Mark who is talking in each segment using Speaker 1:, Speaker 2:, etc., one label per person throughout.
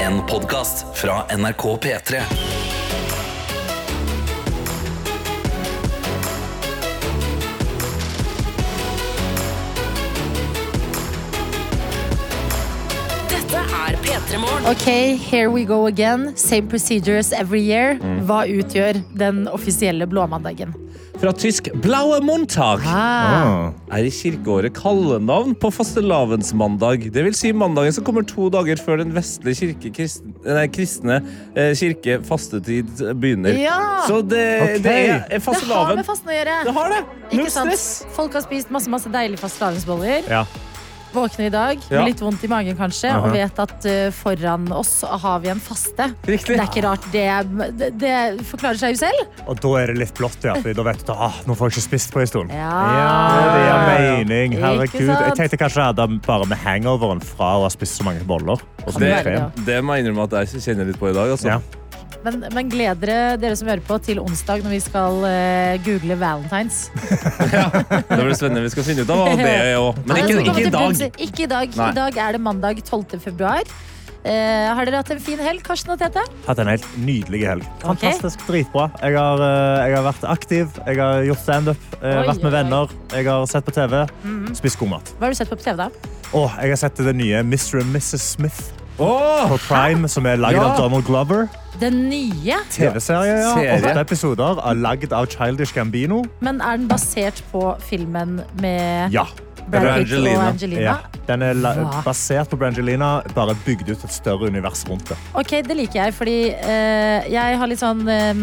Speaker 1: En podcast fra NRK P3
Speaker 2: Dette er P3 Morgen.
Speaker 3: Ok, here we go again. Same procedures every year. Hva utgjør den offisielle blåmandagen?
Speaker 4: Fra tysk Blaue Montag
Speaker 3: Ah,
Speaker 4: er i kirkeåret kallenavn på fastelavnsmandag. Det vil si mandagen som kommer to dager før den vestlige kirke, kristne, nei, kristne eh, kirke fastetid begynner.
Speaker 3: Ja!
Speaker 4: Så det,
Speaker 5: Ok.
Speaker 4: det er- er
Speaker 3: det har
Speaker 4: fastelavn.
Speaker 3: med fasten å gjøre.
Speaker 4: Det har det! Null
Speaker 3: Ikke sant?
Speaker 4: stress.
Speaker 3: Folk har spist masse masse deilige fastelavnsboller.
Speaker 5: Ja.
Speaker 3: Våkner i dag
Speaker 4: Ja.
Speaker 3: med litt vondt i magen kanskje,
Speaker 5: Aha.
Speaker 3: og vet at eh, foran oss har vi en faste. Det
Speaker 4: Riktig.
Speaker 3: er ikke rart. Det, det, det forklarer seg jo selv.
Speaker 5: Og da er det litt blått, ja. Fordi da vet du ah, nå får jeg ikke spist på en stund.
Speaker 3: Ja.
Speaker 5: Det gir mening.
Speaker 3: Ikke
Speaker 5: Herregud.
Speaker 3: sant?
Speaker 5: Jeg tenkte kanskje jeg hadde bare med hangoveren fra å ha spist så mange boller. Og så
Speaker 3: Sånn Det-
Speaker 5: mye krem.
Speaker 4: Det må jeg innrømme at jeg kjenner litt på i dag. Altså.
Speaker 5: Ja.
Speaker 3: Men, men gled dere, dere som hører på, til onsdag når vi skal eh, google Valentines.
Speaker 4: Det blir spennende. Vi skal finne ut av hva det er òg. Men
Speaker 3: Ja, det skal
Speaker 4: ikke, ikke i
Speaker 3: komme til
Speaker 4: dag.
Speaker 3: bunns i- Ikke i dag.
Speaker 4: Nei.
Speaker 3: I dag er det mandag 12. februar. Eh, har dere hatt en fin helg, Karsten og Tete?
Speaker 5: Hatt en helt nydelig helg.
Speaker 3: Ok.
Speaker 5: Fantastisk dritbra. Jeg har, eh, jeg har vært aktiv, jeg har gjort standup, eh,
Speaker 3: Oi,
Speaker 5: vært med
Speaker 3: oi, Mhm. oi.
Speaker 5: venner, jeg har sett på TV, spist god mat.
Speaker 3: Hva har du sett på på TV, da?
Speaker 5: Og jeg har sett det nye Mr. and Mrs. Smith
Speaker 4: Åh!
Speaker 5: på Prime, som er laget
Speaker 4: Ja.
Speaker 5: av Donald Glover.
Speaker 3: Den nye?
Speaker 5: TV-serie, ja.
Speaker 4: Serie.
Speaker 5: Åtte episoder er laget av Childish Gambino.
Speaker 3: Men er den basert på filmen med
Speaker 5: Ja.
Speaker 3: Brad Pitt
Speaker 4: Brangelina.
Speaker 3: og Angelina?
Speaker 5: ja. Den er la
Speaker 3: Hva?
Speaker 5: basert på Brangelina, bare bygd ut et større univers rundt det.
Speaker 3: Ok, det liker jeg, fordi eh, jeg har litt sånn eh,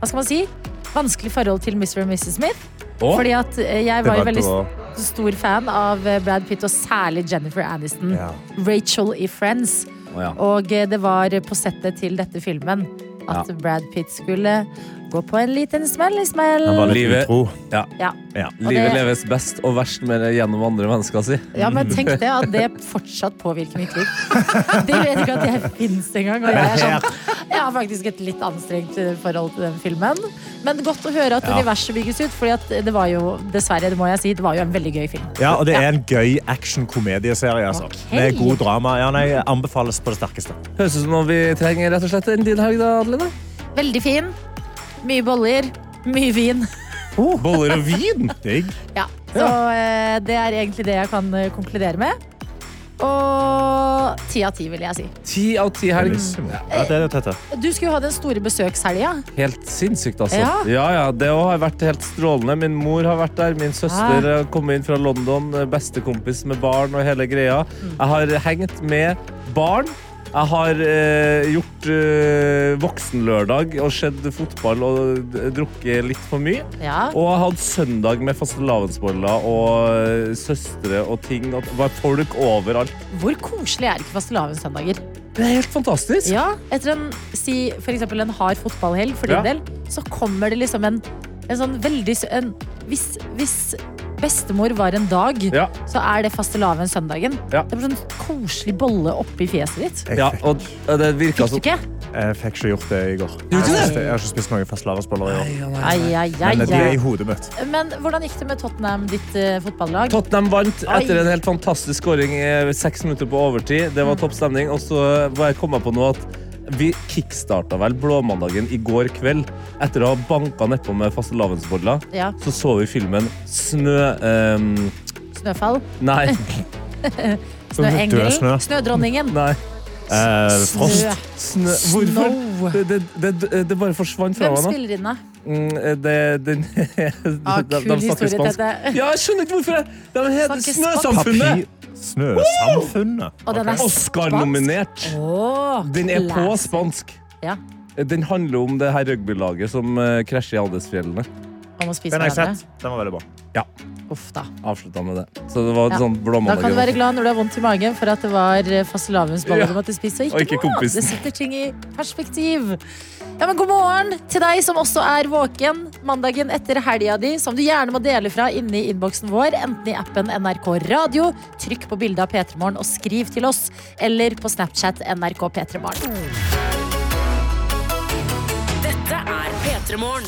Speaker 3: Hva skal man si? Vanskelig forhold til Mr. og Mrs. Smith.
Speaker 4: Åh!
Speaker 3: Fordi at eh, jeg
Speaker 5: Det
Speaker 3: var jo
Speaker 5: var
Speaker 3: veldig
Speaker 5: da-
Speaker 3: st- stor fan av eh, Brad Pitt, og særlig Jennifer Aniston.
Speaker 5: Ja.
Speaker 3: Rachel i Friends.
Speaker 4: Å, ja.
Speaker 3: Og eh, det var på settet til dette filmen at Brad Pitt skulle gå på en liten smell i smell.
Speaker 5: Han var litt
Speaker 4: Livet-
Speaker 5: utro.
Speaker 4: Ja.
Speaker 3: Ja.
Speaker 5: Ja.
Speaker 3: Og det,
Speaker 4: Livet leves best og verst med det gjennom andre mennesker si.
Speaker 3: ja, men tenk det, at det fortsatt påvirker mitt liv. De vet ikke at jeg fins engang. Og jeg, er sånn, jeg har faktisk et litt anstrengt eh, forhold til den filmen. Men godt å høre at universet bygges ut, for det var jo dessverre, det må jeg si, det var jo en veldig gøy film.
Speaker 5: Ja, og det er en gøy action-komedieserie. Altså.
Speaker 3: Ok.
Speaker 5: Med god drama. Ja, nei, anbefales på det sterkeste.
Speaker 4: Høres ut som noe vi trenger rett og slett enn din helg, da, Adeline.
Speaker 3: Veldig fin. Mye boller. Mye vin.
Speaker 4: Oh. Boller og vin?
Speaker 5: Digg.
Speaker 3: Ja, så eh, det er egentlig det jeg kan eh, konkludere med. Og ti av ti, vil jeg si.
Speaker 4: Ti av ti helg.
Speaker 5: Bellissimo.
Speaker 3: Eh.
Speaker 5: Ja, det er det, Tete.
Speaker 3: Du skulle jo ha den store besøkshelga.
Speaker 4: Helt sinnssykt, altså.
Speaker 3: Ja.
Speaker 4: ja, ja, Det også har vært helt strålende. Min mor har vært der, min søster
Speaker 3: Ah.
Speaker 4: har kommet inn fra London, bestekompis med barn og hele greia. Jeg har hengt med barn. Jeg har eh, gjort eh, voksenlørdag og sett fotball og d- drukket litt for mye.
Speaker 3: Ja.
Speaker 4: Og jeg hadde søndag med fastelavnsboller og eh, søstre og ting. Og det var folk overalt.
Speaker 3: Hvor koselig er ikke fastelavnssøndager?
Speaker 4: Det er helt fantastisk.
Speaker 3: Ja, etter en, si for eksempel en hard fotballhelg for din
Speaker 4: Ja.
Speaker 3: del, så kommer det liksom en, en sånn veldig sø- en, hvis, hvis bestemor var en dag,
Speaker 4: Ja.
Speaker 3: så er det fastelavnssøndagen.
Speaker 4: Ja.
Speaker 3: Det er bare sånn koselig bolle oppi fjeset ditt.
Speaker 5: Jeg
Speaker 4: Ja,
Speaker 5: fikk-
Speaker 4: og det virka
Speaker 3: Fikk du
Speaker 4: som
Speaker 3: ikke?
Speaker 5: Jeg fikk ikke gjort det i går.
Speaker 4: ikke
Speaker 5: Jeg
Speaker 4: det?
Speaker 5: synes Jeg har ikke spist noen fastelavnsboller i år.
Speaker 3: Ai, ai, ai,
Speaker 5: Men de er i
Speaker 3: ai.
Speaker 5: hodet mitt.
Speaker 3: Men hvordan gikk det med Tottenham, ditt eh, fotballag?
Speaker 4: Tottenham vant
Speaker 3: Oi.
Speaker 4: etter en helt fantastisk skåring eh, seks minutter på overtid.
Speaker 3: Mm.
Speaker 4: Det var topp stemning. Og så bare kom jeg på nå at vi kickstarta vel blåmandagen i går kveld. Etter å ha banka nedpå med fastelavnsboller,
Speaker 3: Ja,
Speaker 4: så så vi filmen Snø... ehm,
Speaker 3: snøfall.
Speaker 4: nei.
Speaker 3: Snøengelen.
Speaker 5: Død snø.
Speaker 3: Snødronningen.
Speaker 4: nei.
Speaker 5: Eh, frost.
Speaker 3: Snø.
Speaker 4: Snø. Hvorfor?
Speaker 3: Snow.
Speaker 4: Det, det, det, det bare forsvant fra
Speaker 3: Hvem
Speaker 4: meg nå.
Speaker 3: spiller inn, da?
Speaker 4: Mm, Det, den-
Speaker 3: Ah, kul
Speaker 4: de, de snakker
Speaker 3: historie,
Speaker 4: spansk.
Speaker 3: Tete.
Speaker 4: Ja, jeg skjønner ikke hvorfor. jeg- De heter
Speaker 3: Snakker spansk.
Speaker 4: Snøsamfunnet!
Speaker 5: Papir- Snøsamfunnet.
Speaker 3: Og den er
Speaker 4: Oscar-nominert.
Speaker 3: Åh,
Speaker 4: Den er på
Speaker 3: class.
Speaker 4: spansk.
Speaker 3: Ja,
Speaker 4: Den handler om det her rugbylaget som eh, krasjer i Aldesfjellene.
Speaker 3: man må spise
Speaker 5: Den har jeg
Speaker 3: hverandre.
Speaker 5: sett. Den var veldig bra.
Speaker 3: Uff, da.
Speaker 4: Avslutta med det. Så det var et
Speaker 3: Ja.
Speaker 4: sånt
Speaker 3: Da kan du være
Speaker 4: blåmandag.
Speaker 3: glad når du har vondt i magen for at det var eh, fastelavnsboller
Speaker 4: Ja.
Speaker 3: du måtte spise, og
Speaker 4: Og
Speaker 3: ikke,
Speaker 4: ikke
Speaker 3: mat.
Speaker 4: kompisen.
Speaker 3: Det setter ting i perspektiv. Ja, men God morgen til deg som også er våken mandagen etter helga di, som du gjerne må dele fra inne i innboksen vår, enten i appen NRK Radio, trykk på bildet av P3morgen og skriv til oss, eller på Snapchat NRK P3morgen.
Speaker 2: Dette er P3 Morgen.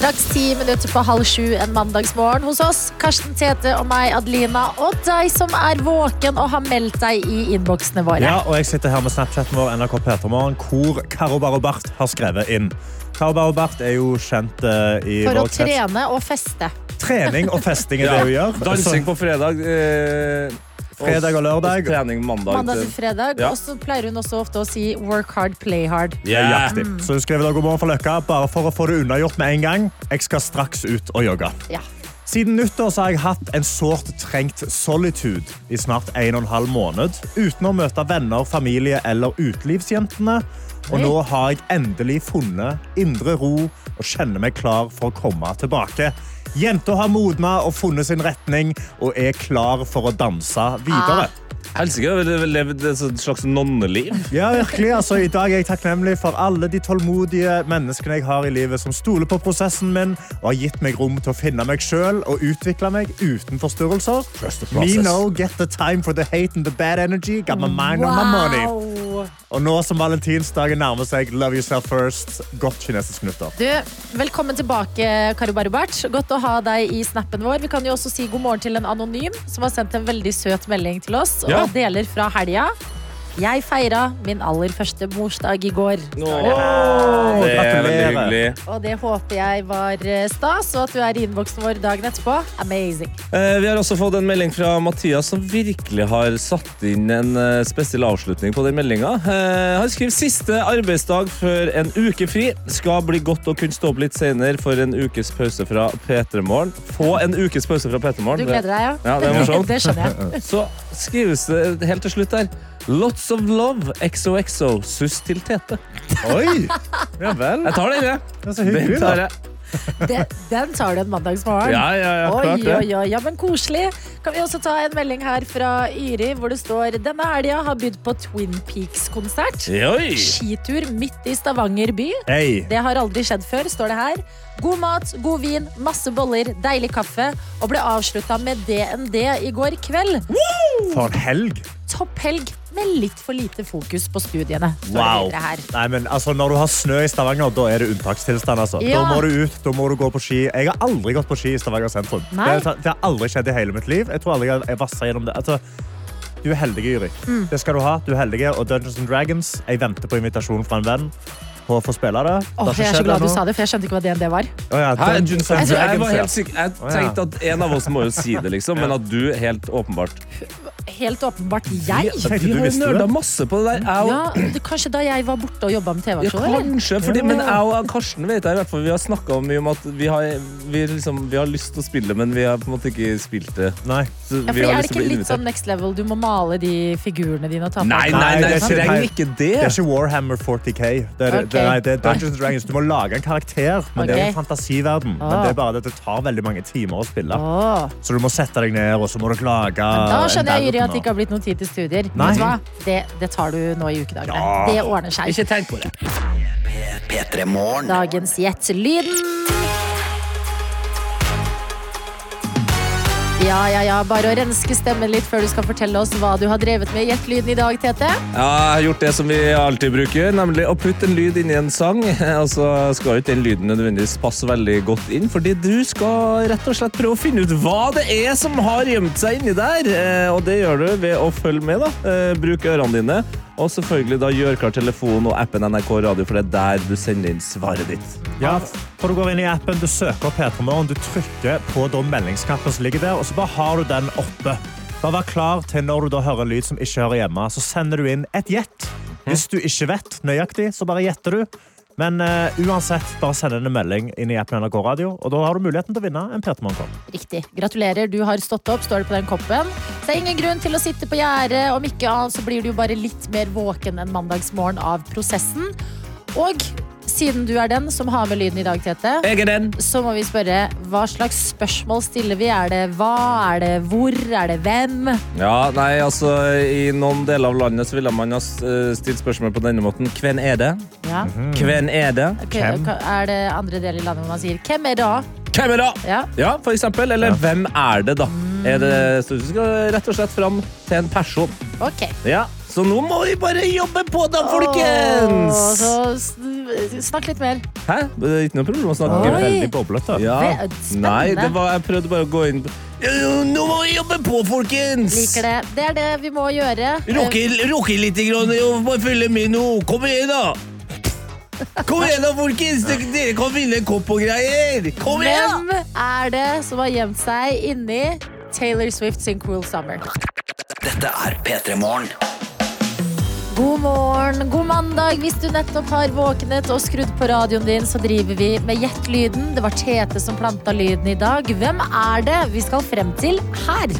Speaker 3: Straks ti minutter på halv sju en mandagsmorgen hos oss. Karsten Tete og meg, Adelina, og deg som er våken og har meldt deg i innboksene våre.
Speaker 5: Ja, og jeg sitter her med Snapchaten vår NRK Petermorgen, hvor Karo Barobart har skrevet inn. Karo Barobart er jo kjent eh, i
Speaker 3: For å
Speaker 5: vår krets.
Speaker 3: trene og feste.
Speaker 5: Trening og festing er det hun gjør.
Speaker 4: Dansing på fredag. Eh,
Speaker 5: Fredag og lørdag.
Speaker 4: Og trening mandag.
Speaker 3: Mandag til fredag.
Speaker 4: Ja.
Speaker 3: Og så pleier hun også ofte å si work hard, play hard.
Speaker 4: Yeah.
Speaker 5: Riktig. Så hun skriver da god morgen for Løkka, bare for å få det unnagjort med en gang. Jeg skal straks ut og jogge.
Speaker 3: Ja.
Speaker 5: Siden nyttår så har jeg hatt en sårt trengt solitude i snart en og en halv måned, uten å møte venner, familie eller utelivsjentene. Og nå har jeg endelig funnet indre ro og kjenner meg klar for å komme tilbake. Jenta har modna og funnet sin retning og er klar for å danse videre.
Speaker 4: Helsike, du har levd et sånt slags nonneliv.
Speaker 5: Ja, virkelig. Altså, I dag er jeg takknemlig for alle de tålmodige menneskene jeg har i livet, som stoler på prosessen min og har gitt meg rom til å finne meg sjøl og utvikle meg uten forstyrrelser. Me know, get the time for the hate and the bad energy. Got my mind on my money.
Speaker 3: Wow.
Speaker 5: Og nå som valentinsdagen nærmer seg, love yourself first. Godt kinesisk nyttår.
Speaker 3: Du, velkommen tilbake, Karo Barubert. Godt å ha deg i snappen vår. Vi kan jo også si god morgen til en anonym som har sendt en veldig søt melding til oss
Speaker 4: Ja.
Speaker 3: og deler fra helga. Jeg feira min aller første morsdag i går.
Speaker 5: Åh,
Speaker 4: det er veldig
Speaker 5: gratulerer.
Speaker 4: hyggelig.
Speaker 3: Og det håper jeg var eh, stas, og at du er i innboksen vår dagen etterpå. Amazing.
Speaker 4: Eh, Vi har også fått en melding fra Mathias som virkelig har satt inn en eh, spesiell avslutning på den meldinga. Eh, Han skriver siste arbeidsdag før en uke fri. Skal bli godt å kunne stå opp litt senere for en ukes pause fra P3 Morgen. Få en ukes pause fra P3
Speaker 3: Du
Speaker 4: Morgen.
Speaker 3: gleder deg, ja?
Speaker 4: Ja, det er morsomt.
Speaker 3: det skjønner jeg.
Speaker 4: Så skrives det helt til slutt der. Lots of love, XOXO, suss til Tete.
Speaker 5: Oi! Ja vel.
Speaker 4: Jeg tar den, jeg.
Speaker 5: Det er så
Speaker 4: Den
Speaker 5: hyggelig,
Speaker 4: tar
Speaker 5: da.
Speaker 4: jeg.
Speaker 3: Det, den tar du en mandagsmorgen.
Speaker 4: Ja, ja, ja, klart
Speaker 3: Oi,
Speaker 4: det.
Speaker 3: oi, oi, ja, men koselig. Kan vi også ta en melding her fra Yri, hvor det står denne helga har bydd på Twin Peaks-konsert.
Speaker 4: Oi.
Speaker 3: Skitur midt i Stavanger by.
Speaker 5: Hei.
Speaker 3: Det har aldri skjedd før, står det her. God mat, god vin, masse boller, deilig kaffe. Og ble avslutta med DND i går kveld.
Speaker 5: For en helg.
Speaker 3: Topphelg med litt for lite fokus på studiene. Står det
Speaker 5: Wow.
Speaker 3: videre her.
Speaker 5: Nei, men, altså, når du har snø i Stavanger, da er det unntakstilstand. Altså.
Speaker 3: Ja.
Speaker 5: Da må du ut, da må du gå på ski. Jeg har aldri gått på ski i Stavanger sentrum. Det,
Speaker 3: Nei.
Speaker 5: har- det har aldri skjedd i hele mitt liv. Jeg tror aldri jeg jeg vasset gjennom det. Altså, du er heldig, Yuri.
Speaker 3: Mm.
Speaker 5: Det skal du ha. Du er heldig. Og Dungeons and Dragons, jeg venter på invitasjon fra en venn. På å få spille det. Det
Speaker 3: Åh,
Speaker 5: har ikke
Speaker 3: jeg er
Speaker 5: skjedd
Speaker 3: så glad du
Speaker 5: ennå.
Speaker 3: sa det, for jeg skjønte ikke hva DND var.
Speaker 5: Å ja,
Speaker 4: Hæ?
Speaker 5: Dungeons and
Speaker 4: Altså, Jeg, jeg var
Speaker 5: Dragons, ja.
Speaker 4: helt sikker. Jeg tenkte at en av oss må jo si det, liksom, men at du helt åpenbart
Speaker 3: Helt åpenbart jeg.
Speaker 5: Jeg tenkte du
Speaker 4: har
Speaker 5: visste det.
Speaker 4: nerda masse på det der. Jeg
Speaker 3: Ja,
Speaker 4: og,
Speaker 3: det, kanskje da jeg var borte og jobba med
Speaker 4: ja,
Speaker 3: TV-aksjoner? eller?
Speaker 4: kanskje, fordi,
Speaker 5: Ja.
Speaker 4: men jeg og Karsten vet jeg, i hvert fall, vi har snakka mye om at vi har, vi, liksom, vi har lyst til å spille, men vi har på en måte ikke spilt det.
Speaker 5: Nei.
Speaker 4: Så
Speaker 3: Ja,
Speaker 4: vi
Speaker 3: fordi
Speaker 4: har
Speaker 3: er det
Speaker 4: lyst til
Speaker 3: ikke
Speaker 4: å bli
Speaker 3: litt sånn
Speaker 4: invitert.
Speaker 3: next level? Du må male de figurene dine og ta på
Speaker 4: Nei,
Speaker 3: deg-
Speaker 4: nei, nei,
Speaker 5: det er ikke-
Speaker 4: trenger ikke det.
Speaker 5: Det er ikke Warhammer 40K. Det er,
Speaker 3: Ok.
Speaker 5: det, nei, det er Dungeons and Dragons. Du må lage en karakter, men det er jo
Speaker 3: Ok.
Speaker 5: fantasiverden. Men
Speaker 3: Ah.
Speaker 5: det er bare det at det tar veldig mange timer å spille.
Speaker 3: Åh,
Speaker 5: Så du må sette deg ned, og så må du klage.
Speaker 3: Ah, da skjønner jeg
Speaker 5: en
Speaker 3: Yuri, at
Speaker 5: verden,
Speaker 3: det ikke har blitt noe tid til studier.
Speaker 5: Nei.
Speaker 3: Vet du hva? Det, det tar du nå i ukedagene.
Speaker 5: Ja.
Speaker 3: Det ordner seg.
Speaker 4: tenk på det.
Speaker 1: P3 Morgen.
Speaker 3: Dagens Gjett lyden. Ja, ja, ja. Bare å renske stemmen litt før du skal fortelle oss hva du har drevet med i Gjett lyden i dag, Tete.
Speaker 4: Ja, jeg har gjort det som vi alltid bruker, nemlig å putte en lyd inn i en sang. Og så skal jo ikke den lyden nødvendigvis passe veldig godt inn, fordi du skal rett og slett prøve å finne ut hva det er som har gjemt seg inni der. Eh, Og det gjør du ved å følge med, da. Eh, Bruk ørene dine. Og selvfølgelig da gjør klar telefonen og appen NRK Radio, for det er der du sender inn svaret ditt.
Speaker 5: Ja, for Du går inn i appen, du søker opp P3 Morgen, du trykker på da meldingsknappen som ligger der, og så bare har du den oppe. Bare vær klar til når du da hører lyd som ikke hører hjemme, så sender du inn et gjett.
Speaker 3: Mhm.
Speaker 5: Hvis du ikke vet nøyaktig, så bare gjetter du. Men eh, uansett, bare send inn en melding inn i appen NRK Radio, og da har du muligheten til å vinne en P3 Morgen-kopp.
Speaker 3: Riktig. Gratulerer, du har stått opp, står det på den koppen. Så det er ingen grunn til å sitte på gjerdet. Om ikke annet så blir du jo bare litt mer våken enn mandagsmorgen av prosessen. Og siden du er den som har med lyden i dag, Tete,
Speaker 4: Jeg er den.
Speaker 3: så må vi spørre hva slags spørsmål stiller vi? Er det hva? Er det hvor? Er det hvem?
Speaker 4: Ja, nei, altså I noen deler av landet så ville man ha eh, stilt spørsmål på denne måten. Hvem er det?
Speaker 3: Ja.
Speaker 4: Hvem er det?
Speaker 3: Ok,
Speaker 5: Hvem?
Speaker 3: Er det andre deler i landet hvor man sier 'hvem er da'?
Speaker 4: Hvem er det?
Speaker 3: Ja.
Speaker 4: Ja, for eksempel. Eller
Speaker 5: Ja.
Speaker 4: hvem er det, da? Er det, så du skal rett og slett fram til en person.
Speaker 3: Ok.
Speaker 4: Ja, Så nå må vi bare jobbe på, da, folkens!
Speaker 3: Åh, så s- Snakk litt mer.
Speaker 4: Hæ? Det er ikke noe problem å snakke.
Speaker 5: Det er
Speaker 3: Oi.
Speaker 5: veldig boblete.
Speaker 4: Ja.
Speaker 3: Det er spennende.
Speaker 4: Nei, det var, jeg prøvde bare å gå inn Ja, ja, Nå må vi jobbe på, folkens!
Speaker 3: Liker det. Det er det vi må gjøre.
Speaker 4: Rocke, rocke litt grann, og bare følge med nå. Kom igjen, da! Kom igjen, da, folkens! Dere- Dere kan vinne en kopp og greier! Kom igjen!
Speaker 3: Eh, Hvem er det som har gjemt seg inni Taylor Swift sin Cruel Summer?
Speaker 1: Dette er P3 Morgen.
Speaker 3: God morgen, god mandag. Hvis du nettopp har våknet og skrudd på radioen din, så driver vi med gjettlyden. Det var Tete som planta lyden i dag. Hvem er det vi skal frem til her?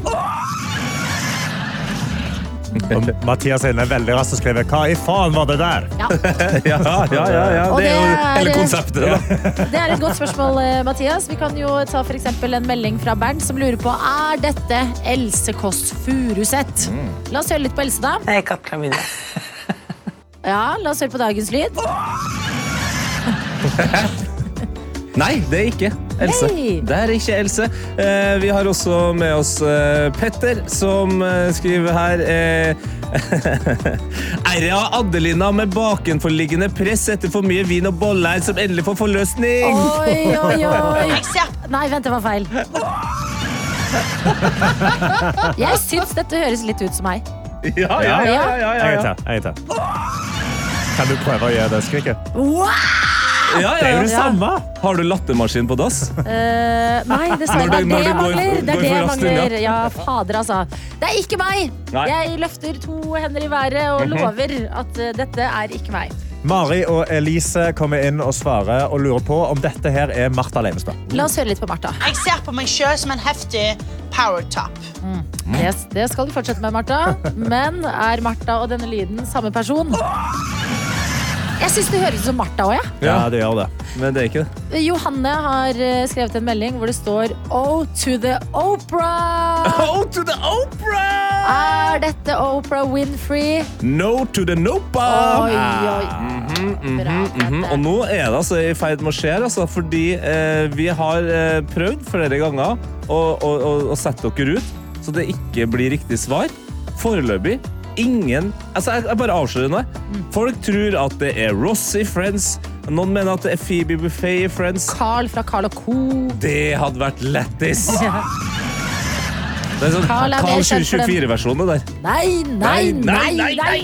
Speaker 5: Og Mathias Heine er veldig rask og skriver Hva i faen var det der?
Speaker 4: Ja, ja, ja. ja.
Speaker 3: Og
Speaker 4: Det er jo
Speaker 3: det
Speaker 4: hele
Speaker 3: er-
Speaker 4: konseptet, da.
Speaker 3: Det er et godt spørsmål, eh, Mathias. Vi kan jo ta for eksempel en melding fra Bernt som lurer på er dette Else Kåss Furuseth.
Speaker 4: Mm.
Speaker 3: La oss høre litt på Else, da.
Speaker 6: Jeg kan klamydia.
Speaker 3: Ja, La oss høre på dagens lyd.
Speaker 4: Nei, det er ikke Else.
Speaker 3: Nei.
Speaker 4: Det er ikke Else. Eh, vi har også med oss eh, Petter, som eh, skriver her eh, Erja Adelina med bakenforliggende press etter for mye vin og boller som endelig får forløsning.
Speaker 3: Oi, oi, oi. Nei, vent, det var feil. Jeg syns dette høres litt ut som meg.
Speaker 4: Ja, ja, ja, ja, ja,
Speaker 5: En
Speaker 4: ja.
Speaker 5: gang til. En gang til. Kan du prøve å gjøre det skriket?
Speaker 4: ja,
Speaker 5: Det er
Speaker 4: ja,
Speaker 5: jo det
Speaker 4: ja.
Speaker 5: samme.
Speaker 4: Har du lattermaskin på dass?
Speaker 3: Eh, nei, dessverre.
Speaker 4: Når
Speaker 3: Det er
Speaker 4: du- når
Speaker 3: det
Speaker 4: du
Speaker 3: jeg
Speaker 4: går-
Speaker 3: mangler. Det
Speaker 4: går
Speaker 3: er det
Speaker 4: for
Speaker 3: jeg
Speaker 4: raskt inn,
Speaker 3: mangler. Ja, fader, altså. Det er ikke meg!
Speaker 4: Nei. Mhm.
Speaker 3: Jeg løfter to hender i været og lover at eh, dette er ikke meg.
Speaker 5: Mari og Elise kommer inn og svarer og lurer på om dette her er Martha Leivestad.
Speaker 3: La oss høre litt på Martha.
Speaker 7: Jeg ser på meg sjøl som en heftig power top.
Speaker 3: Det, det skal du fortsette med, Martha. Men er Martha og denne lyden samme person? Jeg syns det høres ut som Martha òg, jeg.
Speaker 5: Ja, det gjør det.
Speaker 4: Men det er ikke det.
Speaker 3: Johanne har eh, skrevet en melding hvor det står O to the Opera.
Speaker 4: Oh to the Opera!
Speaker 3: Er dette Opera Winfrey?
Speaker 4: No to the Nopa!
Speaker 3: Oi, oi. Bra,
Speaker 4: Mhm, Og
Speaker 3: Tete.
Speaker 4: nå er det altså i ferd med å skje, altså, fordi eh, vi har eh, prøvd flere ganger å, å, å, å sette dere ut, så det ikke blir riktig svar. Foreløpig. Ingen Altså, jeg, jeg bare avslører noe. Folk tror at det er Ross i Friends. Noen mener at det er Phoebe Buffet i Friends.
Speaker 3: Carl fra Carl og Co.
Speaker 4: Det hadde vært lættis! Det er sånn
Speaker 3: Carl er mer
Speaker 4: Carl
Speaker 3: kjent for den.
Speaker 4: 2024-versjonen der.
Speaker 3: Nei, nei, nei, nei!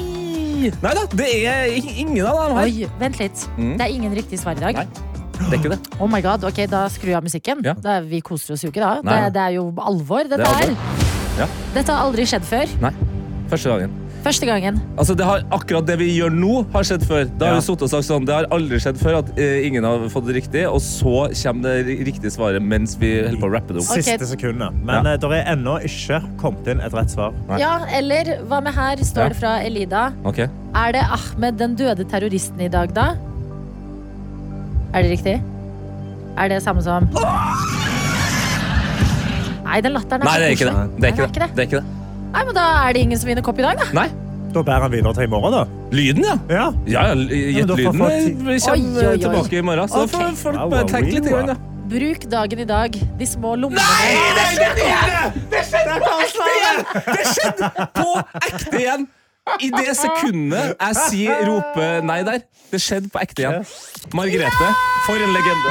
Speaker 4: Nei da, det er i- ingen av dem her.
Speaker 3: Oi, vent litt.
Speaker 4: Mm.
Speaker 3: Det er ingen riktig svar i dag.
Speaker 4: Nei. Det er ikke det.
Speaker 3: Oh my god, ok, Da skrur jeg av musikken.
Speaker 4: Ja.
Speaker 3: Da, vi koser oss jo ikke da. Det,
Speaker 4: Nei.
Speaker 3: det er jo alvor, dette
Speaker 4: Det er alvor.
Speaker 3: her.
Speaker 4: Ja.
Speaker 3: Dette har aldri skjedd før.
Speaker 4: Nei. Første gangen.
Speaker 3: Første gangen.
Speaker 4: Altså, det har, akkurat det vi gjør nå, har skjedd før. Da har
Speaker 5: Ja.
Speaker 4: vi suttet og sagt sånn, Det har aldri skjedd før at eh, ingen har fått det riktig, og så kommer det ri- riktige svaret mens vi holder på å rappe det opp.
Speaker 5: Siste
Speaker 3: Ok.
Speaker 5: sekundet. Men
Speaker 4: Ja.
Speaker 5: eh, det er ennå ikke kommet inn et rett svar.
Speaker 4: Nei.
Speaker 3: Ja, eller hva med her,
Speaker 4: Ja.
Speaker 3: står det fra Elida.
Speaker 4: Ok.
Speaker 3: Er det Ahmed den døde terroristen i dag, da? Er det riktig? Er det samme som Nei, den latteren
Speaker 4: Nei, det er ikke det. Det er
Speaker 3: Nei,
Speaker 4: ikke det. Det er ikke det.
Speaker 3: Nei, men Da er det ingen som vinner kopp i dag, da.
Speaker 4: Nei.
Speaker 5: Da bærer han videre til i morgen, da.
Speaker 4: Lyden, ja.
Speaker 5: Ja.
Speaker 4: Ja, ja, l-
Speaker 5: Ja, men da får
Speaker 4: Gjettlyden eh,
Speaker 5: folk tid.
Speaker 4: kommer
Speaker 3: Oi, oi, oi.
Speaker 4: tilbake i morgen. Så da får
Speaker 3: Ok.
Speaker 4: folk
Speaker 5: Wow,
Speaker 4: bare
Speaker 5: wow,
Speaker 4: tenke litt. i
Speaker 5: wow.
Speaker 4: gang, da.
Speaker 3: Bruk dagen i dag. De små lommene Nei!
Speaker 4: Det sånn. skjedde på ekte igjen! I det sekundet jeg sier roper nei der, det skjedde på ekte igjen. Margrethe, for en legende.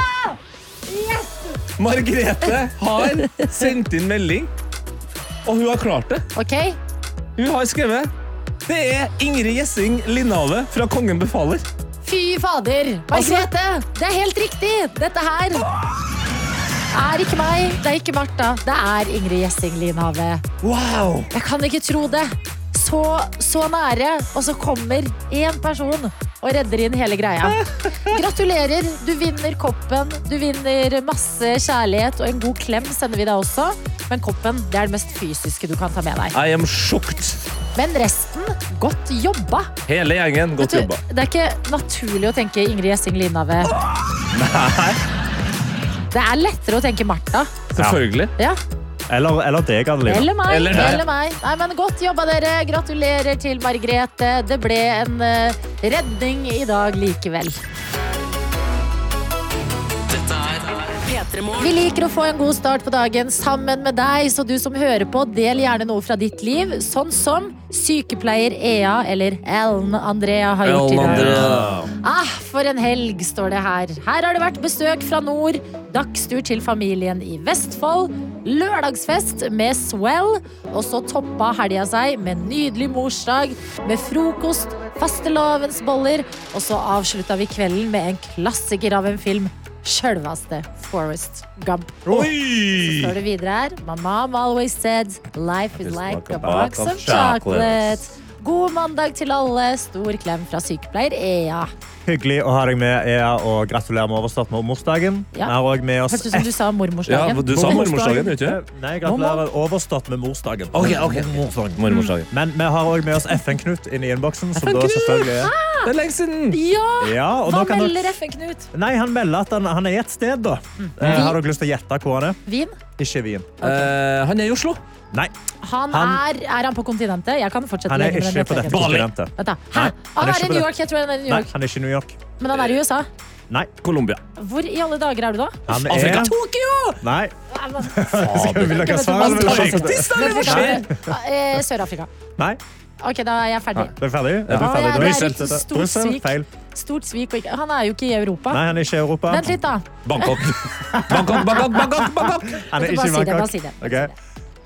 Speaker 4: Margrethe har sendt inn melding, og hun har klart det.
Speaker 3: OK?
Speaker 4: Hun har skrevet Det er Ingrid Gjessing Lindhave fra Kongen befaler.
Speaker 3: Fy fader! Margrethe, det er helt riktig! Dette her er ikke meg, det er ikke Martha, det er Ingrid Gjessing Linhave.
Speaker 4: Wow!
Speaker 3: Jeg kan ikke tro det. Så, så nære, og så kommer én person og redder inn hele greia. Gratulerer. Du vinner koppen. Du vinner masse kjærlighet og en god klem sender vi deg også. Men koppen det er det mest fysiske du kan ta med deg.
Speaker 4: I am sjokt.
Speaker 3: Men resten godt jobba.
Speaker 4: Hele gjengen, godt
Speaker 3: Du,
Speaker 4: jobba.
Speaker 3: det er ikke naturlig å tenke Ingrid Gjessing Linhave. Det er lettere å tenke Martha.
Speaker 4: Selvfølgelig.
Speaker 3: Ja.
Speaker 5: Eller, eller deg, Adelina.
Speaker 3: Eller meg.
Speaker 4: Eller
Speaker 3: Eller
Speaker 4: deg.
Speaker 3: meg. Nei, men godt jobba, dere. Gratulerer til Margrethe. Det ble en eh, redning i dag likevel.
Speaker 2: Dette er P3morgen.
Speaker 3: Vi liker å få en god start på dagen sammen med deg, så du som hører på, del gjerne noe fra ditt liv, sånn som sykepleier Ea eller Ellen Andrea har gjort i
Speaker 1: Ellen
Speaker 3: dag.
Speaker 1: Andrea.
Speaker 3: Ah, for en helg, står det her. Her har det vært besøk fra nord, dagstur til familien i Vestfold, lørdagsfest med Swell, og så toppa helga seg med nydelig morsdag, med frokost, fastelavnsboller, og så avslutta vi kvelden med en klassiker av en film. Sjølvaste Forest Gump. Så står det videre her. My mom always said life is
Speaker 4: Just
Speaker 3: like a box of chocolate.
Speaker 4: chocolates.
Speaker 3: God mandag til alle. Stor klem fra sykepleier Ea.
Speaker 5: Hyggelig å ha deg med, Ea, og gratulerer med overstart med morsdagen.
Speaker 3: Ja.
Speaker 5: Vi har også med oss
Speaker 3: Hørtes ut som du sa
Speaker 4: Ja,
Speaker 3: mormorsdagen.
Speaker 4: du sa mormorsdagen, gjorde du ikke?
Speaker 5: Nei, gratulerer overstått med morsdagen.
Speaker 4: Ok, ok, ok. Mormorsdagen.
Speaker 5: Men vi har også med oss FN-Knut inn i innboksen. som da selvfølgelig er...
Speaker 4: Det er lenge siden!
Speaker 3: Ja!
Speaker 5: Ja, og
Speaker 3: Hva
Speaker 5: nå kan dere-
Speaker 3: melder Mm. FN, Knut?
Speaker 5: Nei, Han melder at han, han er et sted. da. Eh, har dere lyst til å gjette hvor han er?
Speaker 3: Vin?
Speaker 5: Ikke Wien.
Speaker 4: Eh, han er i Oslo.
Speaker 5: Nei,
Speaker 3: Han,
Speaker 5: Han-
Speaker 3: er, er han på kontinentet? Jeg kan fortsette
Speaker 5: han er
Speaker 3: lenger med den
Speaker 5: ikke på dette
Speaker 3: rettferdigheten.
Speaker 5: kontinentet.
Speaker 3: Vent da.
Speaker 5: Nei,
Speaker 3: Hæ?
Speaker 5: han
Speaker 3: Han
Speaker 5: er
Speaker 3: er
Speaker 5: ikke
Speaker 3: i
Speaker 5: på
Speaker 3: New
Speaker 5: det.
Speaker 3: York. Jeg tror han er i New
Speaker 5: Nei, Eh.
Speaker 3: York.
Speaker 5: han er ikke i New York.
Speaker 3: Men han er i USA.
Speaker 5: Nei,
Speaker 4: Colombia.
Speaker 3: Hvor i alle dager er du da?
Speaker 5: han
Speaker 4: Afrika.
Speaker 5: er...
Speaker 3: Tokyo!
Speaker 5: Nei.
Speaker 3: Nei, men-
Speaker 5: Vil dere ha svar? eller vil dere ha svar?
Speaker 3: men-
Speaker 5: skjer?
Speaker 3: Eh, Sør-Afrika.
Speaker 5: Nei,
Speaker 3: Ok, da er jeg ferdig.
Speaker 5: du er ferdig? Er du
Speaker 3: Ja,
Speaker 5: ferdig?
Speaker 3: det er
Speaker 5: Da?
Speaker 3: riktig. Stort
Speaker 5: Brussel?
Speaker 3: svik.
Speaker 5: Feil.
Speaker 3: Stort svik. Og ikke, han er jo ikke i Europa.
Speaker 5: Nei, han er ikke i Europa.
Speaker 3: Vent litt, da.
Speaker 4: Bangkok. Bangkok, Bangkok, Bangkok! Bangkok.
Speaker 5: Han er
Speaker 3: Bare
Speaker 5: ikke i
Speaker 3: si det, bare
Speaker 5: Bangkok.
Speaker 3: si det, bare
Speaker 5: Ok.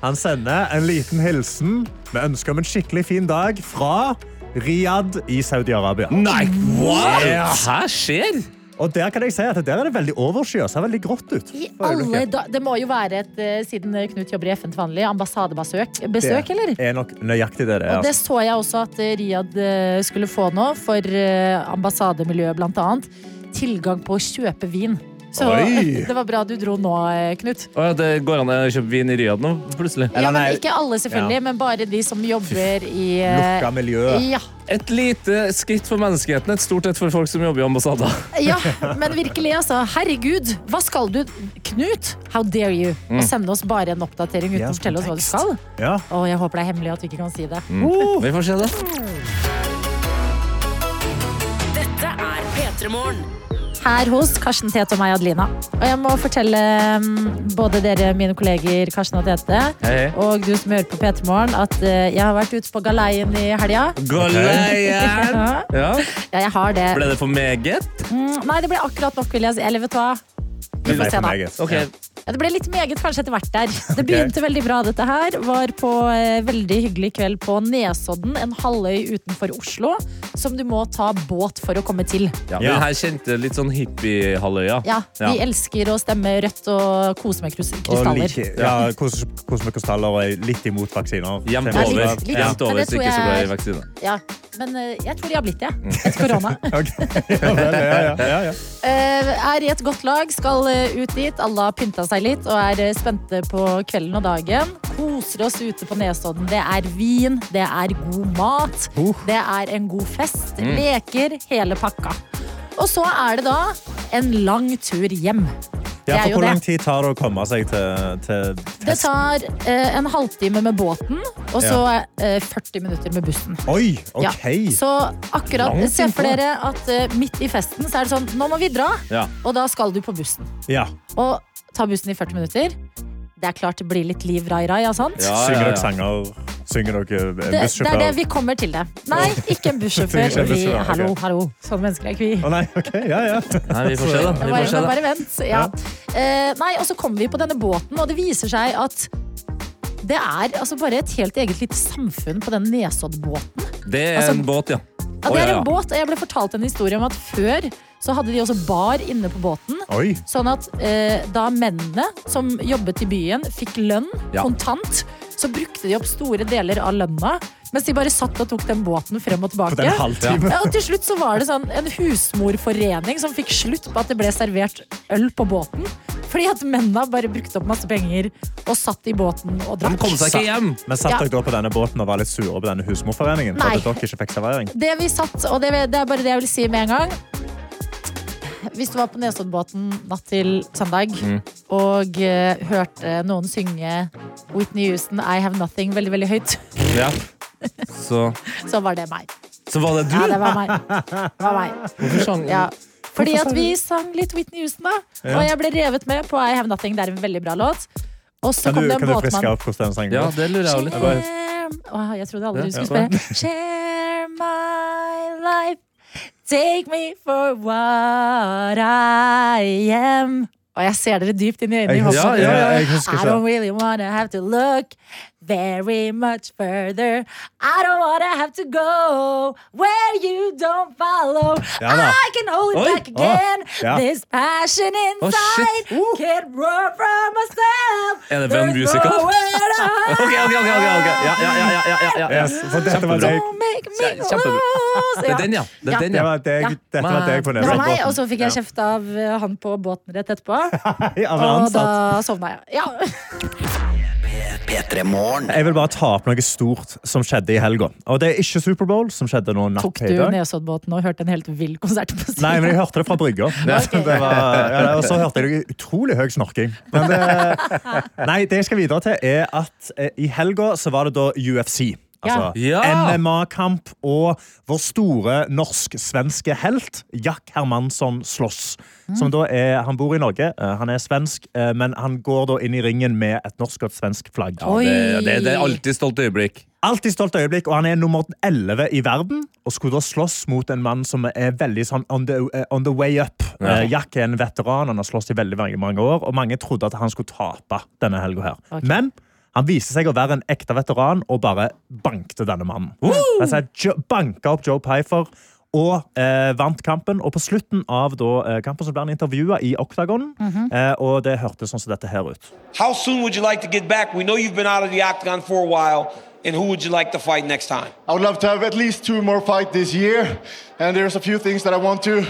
Speaker 5: Han sender en liten hilsen med ønske om en skikkelig fin dag fra Riyadh i Saudi-Arabia.
Speaker 4: Nei, what?!
Speaker 5: Ja.
Speaker 4: Hva skjer?
Speaker 5: Og der kan jeg si at der er det veldig overskyet. Ser veldig grått ut.
Speaker 3: I alle da det må jo være et, eh, siden Knut jobber i FN til vanlig, ambassadebesøk, besøk, eller?
Speaker 5: Det er nok nøyaktig det det er.
Speaker 3: Og det
Speaker 5: altså.
Speaker 3: så jeg også at eh, Riyadh eh, skulle få nå, for eh, ambassademiljøet blant annet, tilgang på å kjøpe vin. Så
Speaker 5: Oi!
Speaker 3: det var bra du dro nå, eh, Knut.
Speaker 4: Å ja, det går an å kjøpe vin i Riyadh nå, plutselig.
Speaker 3: Ja, men
Speaker 5: nei-
Speaker 3: ikke alle selvfølgelig,
Speaker 5: Ja.
Speaker 3: men bare de som jobber i eh,
Speaker 5: Altså, Lukka miljø.
Speaker 3: ja,
Speaker 4: Et lite skritt for menneskeheten, et stort et for folk som jobber i ambassader.
Speaker 3: ja, men virkelig, altså. Herregud, hva skal du Knut, how dare you? Å sende oss bare en oppdatering uten
Speaker 5: Mm. Ja,
Speaker 3: å fortelle oss hva du
Speaker 5: kontekst.
Speaker 3: skal?
Speaker 5: Ja. Mm.
Speaker 3: Å, jeg håper det er hemmelig at Uh, vi ikke kan si det.
Speaker 4: Oh. Vi får se, da.
Speaker 2: Dette er P3morgen.
Speaker 3: her hos Karsten Tete og meg, Adelina. Og jeg må fortelle mm, både dere, mine kolleger Karsten og Tete,
Speaker 4: Hei, hei.
Speaker 3: og du som hører på P3 Morgen, at eh, jeg har vært ute på galeien i helga.
Speaker 4: Goliath!
Speaker 3: Ja,
Speaker 4: Ja.
Speaker 3: jeg har det.
Speaker 4: Ble det for meget?
Speaker 3: Mm, Nei, det ble akkurat nok, vil jeg si. Eller vet du hva? Vi får se, da.
Speaker 4: Ok.
Speaker 3: Ja, det ble litt meget kanskje etter hvert der. Det begynte veldig bra, dette her. Var på eh, veldig hyggelig kveld på Nesodden, en halvøy utenfor Oslo, som du må ta båt for å komme til.
Speaker 4: Ja,
Speaker 5: Ja.
Speaker 4: Den her kjente litt sånn hippie-halvøya.
Speaker 3: Ja, de
Speaker 4: Ja.
Speaker 3: elsker å stemme rødt og kose med krus-
Speaker 5: Og
Speaker 3: krystaller.
Speaker 5: like, ja, kos- kosmokostaller og litt imot vaksiner.
Speaker 4: Jevnt
Speaker 5: Det er
Speaker 4: over.
Speaker 5: mye
Speaker 3: litt- litt-
Speaker 5: bra.
Speaker 4: Jevnt over,
Speaker 3: Men det
Speaker 4: så
Speaker 3: tror
Speaker 4: ikke så glad
Speaker 3: jeg-
Speaker 4: i vaksine.
Speaker 3: Ja, men eh, jeg tror de har blitt det etter korona.
Speaker 5: Ja. ok. Ja, vel, ja, ja, ja, ja.
Speaker 3: Eh, er i et godt lag, skal eh, ut dit. Alle har pynta seg litt og er eh, spente på kvelden og dagen. Koser oss ute på Nesodden. Det er vin, det er god mat,
Speaker 5: Uh. Mm.
Speaker 3: det er en god fest, leker, hele pakka. Og så er det da en lang tur hjem. Det er
Speaker 5: Ja, for
Speaker 3: jo
Speaker 5: hvor
Speaker 3: det.
Speaker 5: lang tid tar det å komme seg til, til
Speaker 3: Det
Speaker 5: festen?
Speaker 3: tar eh, en halvtime med båten, og så eh, 40 minutter med bussen.
Speaker 5: Oi,
Speaker 3: Ja,
Speaker 5: OK.
Speaker 3: Så akkurat,
Speaker 5: Langt
Speaker 3: se for
Speaker 5: innpå.
Speaker 3: dere at eh, midt i festen så er det sånn, nå må vi dra,
Speaker 4: Ja.
Speaker 3: og da skal du på bussen.
Speaker 5: Ja.
Speaker 3: Og ta bussen i 40 minutter. Det er klart det blir litt liv rai rai, ja sant?
Speaker 4: Ja,
Speaker 5: Synger
Speaker 4: ja,
Speaker 5: dere
Speaker 4: ja.
Speaker 5: sanger? Synger dere eh,
Speaker 3: Det, det er
Speaker 5: bussjåfør?
Speaker 3: det vi kommer til det. Nei, ikke en bussjåfør.
Speaker 5: Ikke en
Speaker 3: Vi,
Speaker 5: bussjåfør, ok.
Speaker 3: hallo, hallo. Sånne mennesker er ikke vi.
Speaker 5: Å nei, ok, ja, ja.
Speaker 4: Nei, vi får se, da. Vi
Speaker 3: Bare,
Speaker 4: får se, da.
Speaker 3: bare vent. Ja. Eh, nei, og så kommer vi på denne båten, og det viser seg at det er altså bare et helt eget lite samfunn på den Nesoddbåten.
Speaker 4: Det er
Speaker 3: Altså-
Speaker 4: en båt, ja.
Speaker 3: Ja,
Speaker 4: Å,
Speaker 3: det er
Speaker 4: ja, ja.
Speaker 3: en båt, og jeg ble fortalt en historie om at før så hadde de også bar inne på båten.
Speaker 5: Oi.
Speaker 3: Sånn at eh, da mennene som jobbet i byen, fikk lønn
Speaker 4: Ja.
Speaker 3: kontant, så brukte de opp store deler av lønna, mens de bare satt og tok den båten frem og tilbake.
Speaker 5: På den halvtimen.
Speaker 3: Ja, og til slutt så var det sånn en husmorforening som fikk slutt på at det ble servert øl på båten. Fordi at mennene bare brukte opp masse penger og satt i båten og
Speaker 4: De
Speaker 3: drakk.
Speaker 4: kom seg ikke hjem.
Speaker 5: Men satt
Speaker 3: Ja.
Speaker 5: dere da på denne båten og var litt sure på denne husmorforeningen?
Speaker 3: Nei.
Speaker 5: for at dere ikke fikk servering?
Speaker 3: Det vi satt, og det, det er bare det jeg vil si med en gang. Hvis du var på Nesoddbåten natt til søndag
Speaker 5: Mm.
Speaker 3: og eh, hørte noen synge Whitney Houston, I Have Nothing, veldig veldig høyt,
Speaker 4: Ja. Så,
Speaker 3: så var det meg.
Speaker 4: så var det
Speaker 3: Ja, det
Speaker 4: du?
Speaker 3: var meg. Det var meg.
Speaker 4: Hvorfor sang
Speaker 3: Ja. Fordi
Speaker 5: Hvorfor
Speaker 3: at
Speaker 5: sang
Speaker 3: vi
Speaker 5: du-
Speaker 3: sang litt Whitney Houston, da.
Speaker 5: Ja.
Speaker 3: Og jeg ble revet med på I Have Nothing. Det er en veldig bra låt. Og så
Speaker 5: Kan
Speaker 3: kom
Speaker 5: du,
Speaker 3: det en
Speaker 5: kan du friske
Speaker 3: båtmann.
Speaker 5: opp hvordan den sangen
Speaker 4: Ja,
Speaker 5: går?
Speaker 4: det lurer jeg jo litt på.
Speaker 3: Share Åh, Jeg trodde aldri
Speaker 4: Ja,
Speaker 3: du skulle
Speaker 4: ja.
Speaker 3: spille. Share my life, take me for what I am. Og jeg ser dere dypt inn i øynene.
Speaker 5: Jeg
Speaker 3: i
Speaker 5: husker-
Speaker 3: hånden.
Speaker 4: Ja, ja, ja.
Speaker 5: jeg husker
Speaker 3: I
Speaker 5: ikke.
Speaker 3: don't really wanna have to look very much further. I don't wanna have to go where you don't follow.
Speaker 5: Ja da.
Speaker 3: I can hold it
Speaker 4: Oi.
Speaker 3: back again.
Speaker 5: ja.
Speaker 3: This passion inside
Speaker 4: shit. Oh.
Speaker 3: can roar from myself.
Speaker 4: Er det Van
Speaker 3: There's
Speaker 4: Musical?
Speaker 3: nowhere to hide.
Speaker 4: Ok, ok, ok, ok, ok. Ja, ja, ja, ja, ja, ja, ja.
Speaker 5: Yes, for dette var
Speaker 4: Kjempebra.
Speaker 5: deg.
Speaker 3: Don't make me
Speaker 4: Kje- kjempebra.
Speaker 3: lose.
Speaker 4: Det er den, ja. Det er den,
Speaker 5: Det
Speaker 4: ja.
Speaker 5: var deg,
Speaker 3: Ja.
Speaker 5: Dette var deg på
Speaker 3: Det var meg, og
Speaker 5: Nesodden.
Speaker 3: så fikk jeg kjeft av eh, han på båten rett etterpå.
Speaker 5: Av en
Speaker 3: Og da
Speaker 5: ansatt.
Speaker 3: sovna jeg. Ja.
Speaker 1: P3 Morgen.
Speaker 5: Jeg vil bare ta opp noe stort som skjedde i helga. Og det er ikke Superbowl, som skjedde nå natt
Speaker 3: Tok
Speaker 5: til i
Speaker 3: du
Speaker 5: dag.
Speaker 3: Nesoddbåten og hørte en helt vill konsert på siden?
Speaker 5: Nei, men jeg hørte det fra brygga. Det var- ja, Og så hørte jeg det utrolig høy snorking. Men det, nei, det jeg skal videre til, er at eh, i helga så var det da UFC. Altså
Speaker 4: Ja. Ja.
Speaker 5: MMA-kamp og vår store norsk-svenske helt Jack Hermansson slåss. Som da er, Han bor i Norge, eh, han er svensk, eh, men han går da inn i ringen med et norsk og et svensk flagg.
Speaker 3: Oi.
Speaker 4: Det, det, det er alltid stolt øyeblikk.
Speaker 5: Alltid stolt øyeblikk, og han er nummer 11 i verden. Og skulle da slåss mot en mann som er veldig sånn on the, eh, on the way up. Eh, Jack er en veteran, han har slåss i veldig mange, mange år, og mange trodde at han skulle tape denne helga her. Men han viste seg å være en ekte veteran og bare bankte denne mannen. Altså, jo, banka opp Joe Pifer. Og eh, vant kampen, og på slutten av da, eh, kampen så ble han intervjua i Octagon. eh, og det hørtes sånn som dette her ut.
Speaker 6: How soon would you like to get back? We know you've been out of the octagon for a while, and who would you like to fight next time?
Speaker 8: I would love to have at least two more fights this year, and there's a few things that I want to.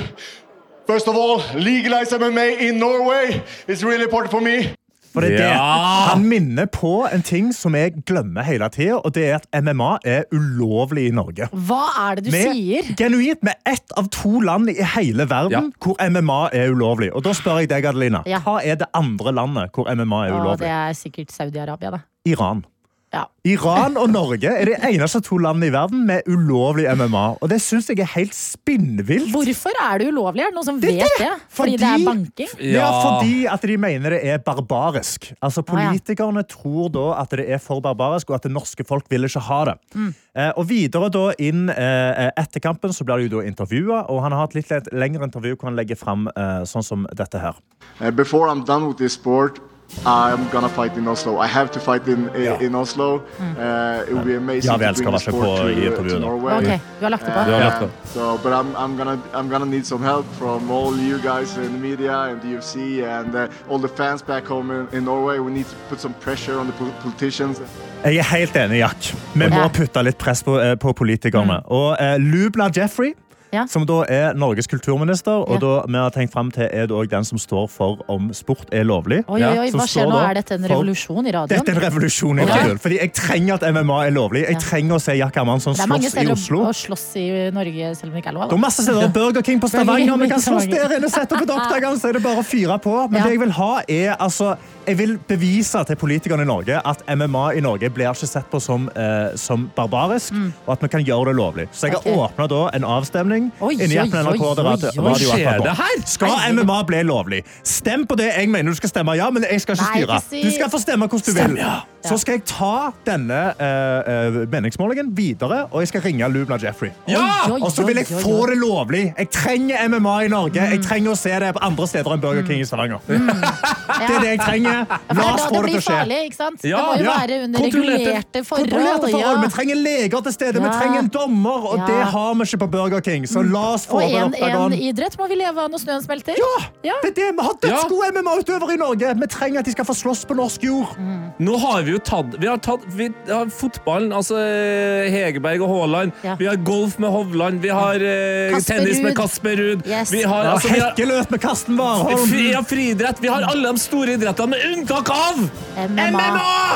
Speaker 8: First of all, legalize MMA in Norway. It's really important for me.
Speaker 5: For det
Speaker 4: Ja!
Speaker 5: er det. Han minner på en ting som jeg glemmer hele tida, og det er at MMA er ulovlig i Norge.
Speaker 3: Hva er det du sier?
Speaker 5: genuint med ett av to land i hele verden
Speaker 4: Ja.
Speaker 5: hvor MMA er ulovlig. Og da spør jeg deg, Adelina,
Speaker 3: Ja.
Speaker 5: hva er det andre landet hvor MMA er
Speaker 3: Å,
Speaker 5: ulovlig?
Speaker 3: det er sikkert Saudi-Arabia, da.
Speaker 5: Iran.
Speaker 3: Ja.
Speaker 5: Iran og Norge er de eneste to landene i verden med ulovlig MMA. Og det syns jeg er helt spinnvilt.
Speaker 3: Hvorfor er det ulovlig? Er det noen som
Speaker 5: Det er
Speaker 3: vet
Speaker 5: det.
Speaker 3: det? Fordi det
Speaker 5: Fordi-
Speaker 3: er banking?
Speaker 5: Ja,
Speaker 4: Ja.
Speaker 5: fordi at de mener det er barbarisk. Altså,
Speaker 3: ja.
Speaker 5: Politikerne tror da at det er for barbarisk, og at det norske folk vil ikke ha det.
Speaker 3: Mm.
Speaker 5: Eh, og videre da inn eh, etter kampen så blir de jo da intervjua, og han har hatt litt le- lengre intervju hvor han legger fram eh, sånn som dette her.
Speaker 8: Uh, before I'm done with this sport, I'm gonna fight in Oslo. I have to fight in in,
Speaker 5: Yeah.
Speaker 8: in Oslo. Uh, it would be amazing
Speaker 5: Ja, vi Mm.
Speaker 8: to
Speaker 5: älskar
Speaker 8: bring the
Speaker 5: varsin på
Speaker 8: sport to,
Speaker 5: i
Speaker 8: uh, to
Speaker 5: intervjuerna.
Speaker 8: Norway.
Speaker 3: Ok, du har lagt det på.
Speaker 4: Ja.
Speaker 8: Uh,
Speaker 4: laptop.
Speaker 8: so, but I'm, I'm gonna I'm gonna need some help from all you guys in the media and the UFC and uh, all the fans back home in, in Norway. We need to put some pressure on the pol- politicians.
Speaker 5: Jeg er helt enig, Jack. Vi må
Speaker 3: Ja. Mm.
Speaker 5: putte litt press på, eh, på politikerne. Og eh, Lubna Jeffrey,
Speaker 3: Ja.
Speaker 5: som da er Norges kulturminister, og
Speaker 3: Ja.
Speaker 5: da vi har tenkt frem til er det også den som står for om sport er lovlig.
Speaker 3: Oi, oi, oi,
Speaker 5: Som
Speaker 3: hva
Speaker 5: står
Speaker 3: skjer nå?
Speaker 5: da
Speaker 3: Er dette en
Speaker 5: for-
Speaker 3: revolusjon i
Speaker 5: Dette er
Speaker 3: radioen?
Speaker 5: en revolusjon i
Speaker 3: Ok.
Speaker 5: radioen. Fordi jeg trenger at MMA er lovlig. Jeg
Speaker 3: Ja.
Speaker 5: trenger å se Jack Hermansson
Speaker 3: Det er mange
Speaker 5: slåss i
Speaker 3: steder å,
Speaker 5: Oslo.
Speaker 3: å slåss i Norge, selv om det ikke er lov.
Speaker 5: Det er
Speaker 3: da.
Speaker 5: masse steder. Burger King på Stavanger.
Speaker 3: King
Speaker 5: Vi kan
Speaker 3: på
Speaker 5: slåss
Speaker 3: Stavanger.
Speaker 5: der inne. Sette opp et oppdageren, så er det bare å fyre på. Men
Speaker 3: Ja.
Speaker 5: det jeg vil ha, er altså Jeg vil bevise til politikerne i Norge at MMA i Norge blir ikke sett på som, eh, som barbarisk, og at vi kan gjøre det lovlig. Så jeg har
Speaker 3: Mm. Ok.
Speaker 5: åpnet da en avstemning
Speaker 3: Oi,
Speaker 5: inni
Speaker 3: oi,
Speaker 5: appen NRK.
Speaker 3: oi,
Speaker 5: der
Speaker 3: oi,
Speaker 5: radio-
Speaker 3: oi.
Speaker 5: radio-
Speaker 4: Skjer
Speaker 5: radio-
Speaker 4: det her?
Speaker 5: Skal MMA bli lovlig? Stem på det jeg mener du skal stemme ja, men jeg skal ikke
Speaker 3: Nei,
Speaker 5: styre.
Speaker 3: ikke si-
Speaker 5: Du skal få stemme hvordan du
Speaker 4: Stem
Speaker 5: vil.
Speaker 4: ja.
Speaker 5: Så skal jeg ta denne eh, eh, meningsmålingen videre, og jeg skal ringe Lubna Jeffrey.
Speaker 4: Ja!
Speaker 3: Oi, oi,
Speaker 5: Og så vil jeg
Speaker 3: oi, oi,
Speaker 5: få
Speaker 3: oi.
Speaker 5: det lovlig. Jeg trenger MMA i Norge. Jeg trenger å se det på andre steder enn
Speaker 3: Mm.
Speaker 5: Burger King i Stavanger. Det er det jeg trenger.
Speaker 3: For
Speaker 5: La
Speaker 3: det er
Speaker 5: oss
Speaker 3: da
Speaker 5: få
Speaker 3: det
Speaker 5: det til
Speaker 3: blir
Speaker 5: å skje.
Speaker 3: farlig, ikke sant?
Speaker 4: Ja,
Speaker 3: det må jo
Speaker 5: ja.
Speaker 3: være under
Speaker 4: Kontrollerte-
Speaker 3: regulerte forhold.
Speaker 5: Kontrollerte forhold.
Speaker 3: ja.
Speaker 5: Vi trenger leger til stede, vi
Speaker 3: Ja.
Speaker 5: trenger en dommer, og
Speaker 3: Ja.
Speaker 5: det har vi ikke på Burger King. Så la oss få
Speaker 3: Og
Speaker 5: det
Speaker 3: en, en
Speaker 5: oppdagen.
Speaker 3: idrett må vi leve av når snøen smelter.
Speaker 5: Ja!
Speaker 3: Ja.
Speaker 5: Det er det. Vi har dødsgode MMA-utøvere i Norge. Vi trenger at de skal få slåss på norsk jord.
Speaker 4: Nå har vi jo tatt Vi har tatt vi har fotballen, altså eh, Hegerberg og Haaland.
Speaker 3: Ja.
Speaker 4: Vi har golf med Hovland. Vi har eh,
Speaker 3: Kasper
Speaker 4: tennis med
Speaker 3: Ruud.
Speaker 4: Kasper Ruud.
Speaker 3: Yes.
Speaker 4: Vi har, altså, vi har
Speaker 5: Hekkeløp med Karsten Warholm.
Speaker 4: fri- ja, friidrett. Vi har alle de store idrettene, med unntak av
Speaker 3: MMA.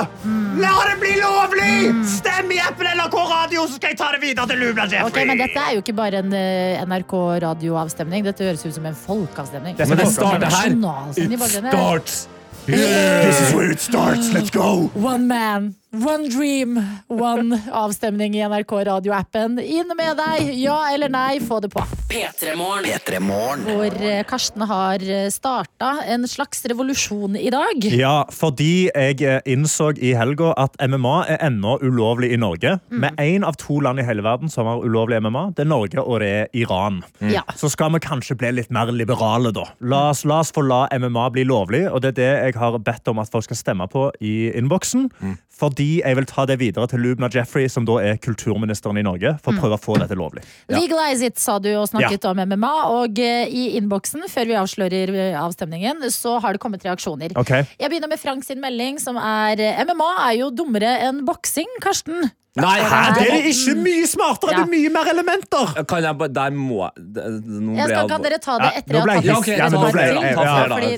Speaker 5: La det bli lovlig!
Speaker 3: Mm.
Speaker 5: Stem i appen NRK Radio, så skal jeg ta det videre til Lubna
Speaker 3: Ok, men dette er jo ikke bare en eh, NRK radioavstemning. Dette høres ut som en folkeavstemning.
Speaker 5: Dette
Speaker 4: Men det
Speaker 5: Folkeavstemning.
Speaker 4: starter her.
Speaker 3: Nasjonalsyn i
Speaker 4: It
Speaker 3: bakgrunnen her.
Speaker 4: starts.
Speaker 5: This is where it starts. Let's go!
Speaker 3: One man, One dream, one avstemning i NRK radioappen. Inn med deg! Ja eller nei, få det på.
Speaker 2: P3morgen.
Speaker 1: P3 Morgen.
Speaker 3: Hvor eh, Karsten har starta en slags revolusjon i dag.
Speaker 5: Ja, fordi jeg eh, innså i helga at MMA er ennå ulovlig i Norge. Med én av to land i hele verden som har ulovlig MMA. Det er Norge, og det er Iran.
Speaker 3: Ja.
Speaker 5: Så skal vi kanskje bli litt mer liberale, da. La oss, la oss få la MMA bli lovlig, og det er det jeg har bedt om at folk skal stemme på i innboksen. Fordi jeg vil ta det videre til Lubna Jeffrey, som da er kulturministeren i Norge, for å prøve å få dette lovlig.
Speaker 3: Legalize it, sa du og snakket om MMA. Og eh, i innboksen, før vi avslører eh, avstemningen, så har det kommet reaksjoner.
Speaker 5: Ok.
Speaker 3: Jeg begynner med Frank sin melding, som er eh, MMA er jo dummere enn boksing, Karsten.
Speaker 4: Nei,
Speaker 5: Hæ, det er
Speaker 3: Nei.
Speaker 5: ikke mye smartere! Det
Speaker 3: Ja.
Speaker 5: er mye mer elementer!
Speaker 4: Kan jeg bare Der må jeg det- Nå
Speaker 3: Jeg
Speaker 4: ble
Speaker 3: skal,
Speaker 4: jeg
Speaker 3: kan dere ta det
Speaker 5: Ja,
Speaker 3: etter
Speaker 5: nå ble jeg-
Speaker 3: jeg
Speaker 5: Ja,
Speaker 3: har
Speaker 5: ok,
Speaker 3: tatt
Speaker 5: ja, men nå ble jeg-
Speaker 3: melding?
Speaker 5: ja,
Speaker 3: fordi
Speaker 4: ja,
Speaker 5: ja,